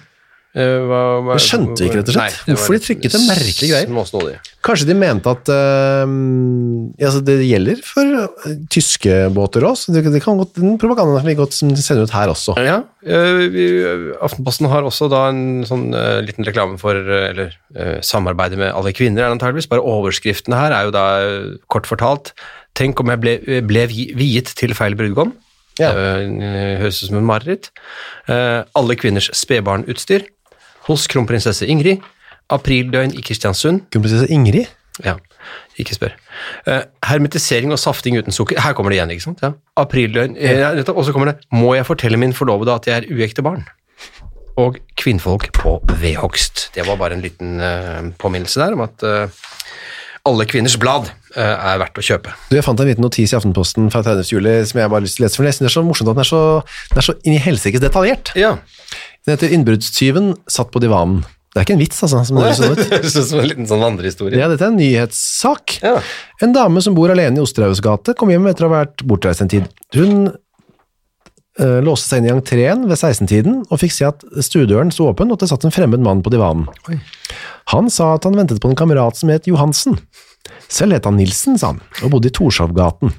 Speaker 2: Eh, hva, hva,
Speaker 1: Jeg skjønte ikke, rett og slett,
Speaker 2: det
Speaker 1: hvorfor
Speaker 2: var
Speaker 1: de trykket en merkelig greie.
Speaker 2: småsnodig.
Speaker 1: Kanskje de mente at øhm, ja, altså det gjelder for øh, tyske båter også. Det, det kan godt, den propagandaen kan like godt som de sender ut her også.
Speaker 2: Ja, eh, vi- Aftenposten har også da en sånn eh, liten reklame for eh, eller eh, samarbeidet med alle kvinner, er det antageligvis. Bare overskriften her er jo da eh, kort fortalt Tenk om jeg ble, eh, ble vi- viet til feil brudgom.
Speaker 1: Ja.
Speaker 2: Eh, Høres ut som en mareritt. Eh, Alle kvinners spedbarnutstyr. Hos kronprinsesse Ingrid. Aprildøgn i Kristiansund.
Speaker 1: Kronprinsesse Ingrid?
Speaker 2: Ja, ikke spør. Eh, hermetisering og safting uten sukker. Her kommer det igjen, ikke sant? Ja. Aprildøgn. Eh, ja, nettopp. og så kommer det 'Må jeg fortelle min forlovede at jeg er uekte barn?' Og kvinnfolk på vedhogst. Det var bare en liten eh, påminnelse der om at eh, alle kvinners blad eh, er verdt å kjøpe.
Speaker 1: Du, Jeg fant en liten notis i Aftenposten fra 30. juli som jeg bare har lyst til å lese, for jeg synes det er så morsomt at den er så, den er så inn i helsikes detaljert.
Speaker 2: Ja.
Speaker 1: Den heter 'Innbruddstyven satt på divanen'. Det er ikke en vits, altså. som det høres sånn ut.
Speaker 2: Det høres ut som en liten sånn vandrehistorie.
Speaker 1: Ja, dette er en nyhetssak.
Speaker 2: Ja.
Speaker 1: En dame som bor alene i Osterhaugs gate, kom hjem etter å ha vært bortreist en tid. Hun eh, låste seg inn i entreen ved 16-tiden og fikk se at stuedøren sto åpen, og at det satt en fremmed mann på divanen.
Speaker 2: Oi.
Speaker 1: Han sa at han ventet på en kamerat som het Johansen. Selv het han Nilsen, sa han, og bodde i Torshovgaten.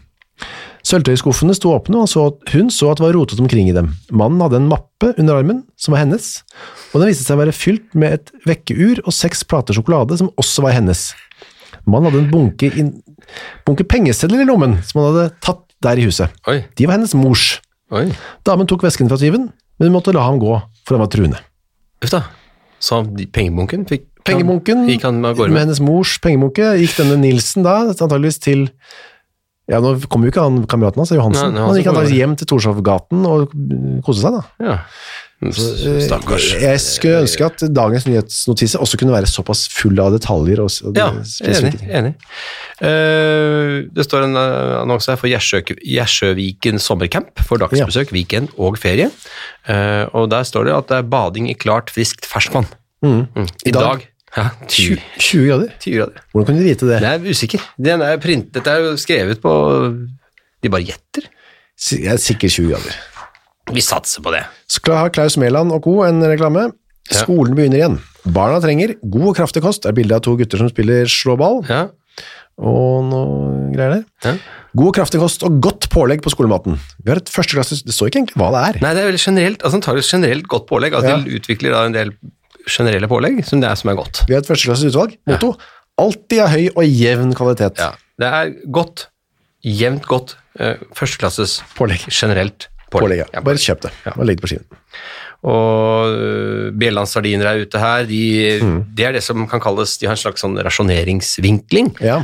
Speaker 1: Sølvtøyskuffene sto åpne, og så, hun så at det var rotet omkring i dem. Mannen hadde en mappe under armen, som var hennes, og den viste seg å være fylt med et vekkeur og seks plater sjokolade, som også var hennes. Mannen hadde en bunke, inn, bunke pengesedler i lommen, som han hadde tatt der i huset.
Speaker 2: Oi,
Speaker 1: De var hennes mors.
Speaker 2: oi.
Speaker 1: Damen tok vesken fra tyven, men hun måtte la ham gå, for han var truende.
Speaker 2: Uff da. Så de- pengebunken fikk
Speaker 1: Pengebunken,
Speaker 2: Gikk han av gårde
Speaker 1: med
Speaker 2: med?
Speaker 1: hennes mors pengebunke, gikk denne Nilsen da, antageligvis til Ja, nå kom jo ikke han kameraten hans, Johansen.
Speaker 2: Nei,
Speaker 1: han
Speaker 2: nei,
Speaker 1: gikk
Speaker 2: Johansen kom
Speaker 1: antageligvis
Speaker 2: jo.
Speaker 1: hjem til Torshovgaten og mm, koste seg, da. Eh,
Speaker 2: Ja. eh, Stakkars.
Speaker 1: Jeg skulle ønske at dagens nyhetsnotise også kunne være såpass full av detaljer. Og, s- og
Speaker 2: Ja, enig.
Speaker 1: spesifikke ting.
Speaker 2: enig. Eh, det står en eh, annonse her for Gjersjø- Gjersjøviken sommercamp for dagsbesøk, weekend og ferie. Eh, og der står det at det er bading i klart, friskt ferskvann. Mm. I, dag,
Speaker 1: dag-
Speaker 2: ja, 20,
Speaker 1: 20, 20 grader?
Speaker 2: 20 grader.
Speaker 1: Hvordan kunne de vite det?
Speaker 2: Jeg er usikker. Den er print, dette er jo skrevet på De bare gjetter.
Speaker 1: Si- Jeg er sikkert 20 grader.
Speaker 2: Vi satser på det.
Speaker 1: Skal ha Klaus Mæland og co. en reklame.
Speaker 2: Ja.
Speaker 1: Skolen begynner igjen. Barna trenger god og kraftig kost. Det er bilde av to gutter som spiller slåball
Speaker 2: Ja.
Speaker 1: og noe greier der.
Speaker 2: Ja.
Speaker 1: God og kraftig kost og godt pålegg på skolematen. Vi har et førsteklasses Det står ikke egentlig hva det er.
Speaker 2: Nei, det er veldig generelt. Altså, den tar jo generelt godt pålegg.
Speaker 1: Ja.
Speaker 2: Altså, De utvikler da en del generelle pålegg som, det er, som er godt.
Speaker 1: Vi har et førsteklasses utvalg. Motto alltid av høy og jevn kvalitet.
Speaker 2: Ja. Det er godt, jevnt godt, eh, førsteklasses
Speaker 1: Pålegg.
Speaker 2: generelt
Speaker 1: Pålegg,
Speaker 2: pålegg.
Speaker 1: ja. Bare kjøp det og legg det på skiven.
Speaker 2: Og eh, Bjellandsardiner er ute her. De,
Speaker 1: Mm.
Speaker 2: Det er det som kan kalles De har en slags sånn rasjoneringsvinkling.
Speaker 1: Ja.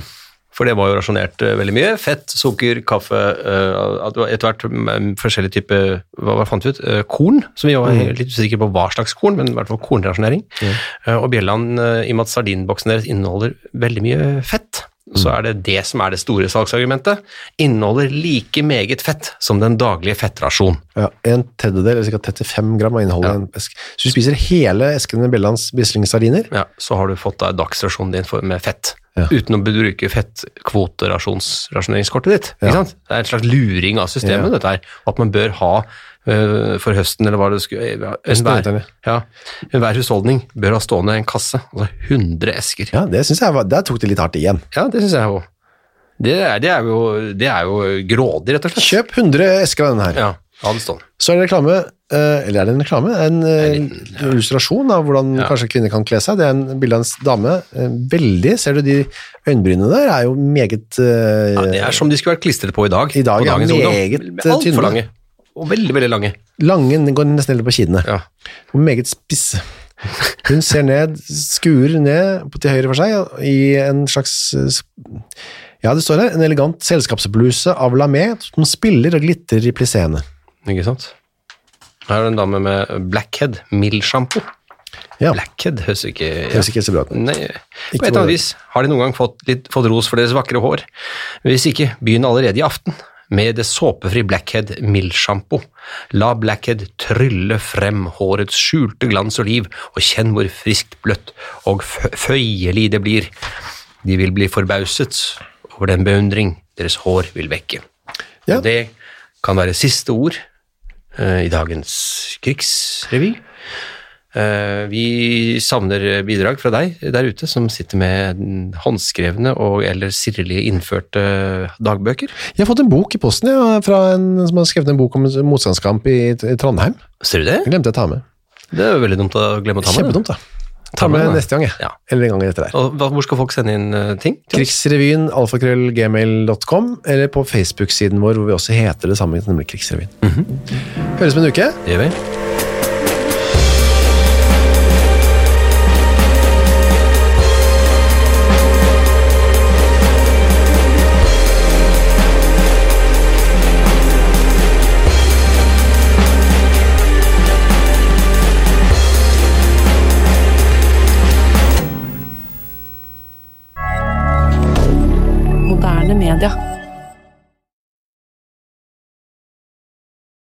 Speaker 2: For det var jo rasjonert eh, veldig mye. Fett, sukker, kaffe eh, at det var Etter hvert mm, forskjellige typer Hva hva fant vi ut? Eh, korn, som vi var litt usikre på hva slags korn, men i hvert fall kornrasjonering. Eh, og Bjelland, eh, i og med at sardinboksen deres inneholder veldig mye fett, så er det det som er det store salgsargumentet. Inneholder like meget fett som den daglige fettrasjon.
Speaker 1: Ja, en tredjedel, eller ca. 35 gram av innholdet i en eske. Så du spiser hele esken med Bellands Bislingssardiner?
Speaker 2: Ja, så har du fått da dagsrasjonen din for, med fett.
Speaker 1: Ja.
Speaker 2: Uten å bruke fettkvoterasjoneringskortet ditt.
Speaker 1: Ja.
Speaker 2: Ikke sant? Det er en slags luring av systemet,
Speaker 1: Ja.
Speaker 2: dette her. At man bør ha øh, for høsten, eller hva det skulle eh,
Speaker 1: Høsten og
Speaker 2: enhver,
Speaker 1: vinteren,
Speaker 2: ja, enhver husholdning bør ha stående en kasse. Altså 100 esker. Ja,
Speaker 1: Ja, det synes jeg var, der tok de litt hardt igjen.
Speaker 2: det syns jeg òg. Det, er- det, er jo- det er jo grådig, rett og slett.
Speaker 1: Kjøp 100 esker av denne her.
Speaker 2: Ja, ha det sånn. stående.
Speaker 1: Så er det reklame, eh, eller er det en reklame? En eh, illustrasjon av hvordan kanskje kvinner kan kle seg. Det er en bilde av en s- dame. eh, Veldig, ser du de øynbrynene der, er jo meget eh,
Speaker 2: Ja, det er som de skulle vært klistret på i dag.
Speaker 1: I dag,
Speaker 2: på
Speaker 1: ja,
Speaker 2: dagens
Speaker 1: meget,
Speaker 2: ungdom.
Speaker 1: eh, tynne.
Speaker 2: Altfor lange. Og veldig, veldig lange.
Speaker 1: lange, den går nesten ned på kinnene.
Speaker 2: Ja.
Speaker 1: Og meget spisse. Hun ser ned, skuer ned på- til høyre for seg, i en slags eh, s- Ja, det står her, en elegant selskapsbluse av lamé som spiller og glitrer i plisséene.
Speaker 2: Ikke sant? Her er det en dame med blackhead mild-sjampo.
Speaker 1: Ja.
Speaker 2: Blackhead høres ikke
Speaker 1: Høres ikke så bra ut.
Speaker 2: Nei, på
Speaker 1: Ikke
Speaker 2: et eller
Speaker 1: bare-
Speaker 2: annet vis har de noen gang fått, litt, fått ros for deres vakre hår. Hvis ikke, begynn allerede i aften med det såpefri Blackhead mildsjampo. La Blackhead trylle frem hårets skjulte glans og liv, og kjenn hvor friskt bløtt og fø- føyelig det blir. De vil bli forbauset over den beundring deres hår vil vekke.
Speaker 1: Ja.
Speaker 2: Og Det kan være siste ord eh, i dagens krigsrevy. Eh, Vi savner bidrag fra deg der ute, som sitter med håndskrevne og eller sirlig innførte dagbøker.
Speaker 1: Jeg har fått en bok i posten ja, fra en som har skrevet en bok om en motstandskamp i, i Trondheim.
Speaker 2: Ser du det?
Speaker 1: Den glemte jeg å ta med.
Speaker 2: Det er jo veldig dumt å glemme å ta med.
Speaker 1: Kjempedumt, da. Ta med
Speaker 2: med, da.
Speaker 1: neste gang, jeg.
Speaker 2: Ja.
Speaker 1: Eller en gang etter der.
Speaker 2: Og hva- hvor skal folk sende inn eh, ting? til oss?
Speaker 1: Krigsrevyen, alfakrøllgmail.com, eller Mhm. på Facebook-siden vår, hvor vi også heter det samme, nemlig Krigsrevyen. Høres om en uke.
Speaker 2: Det gjør vi.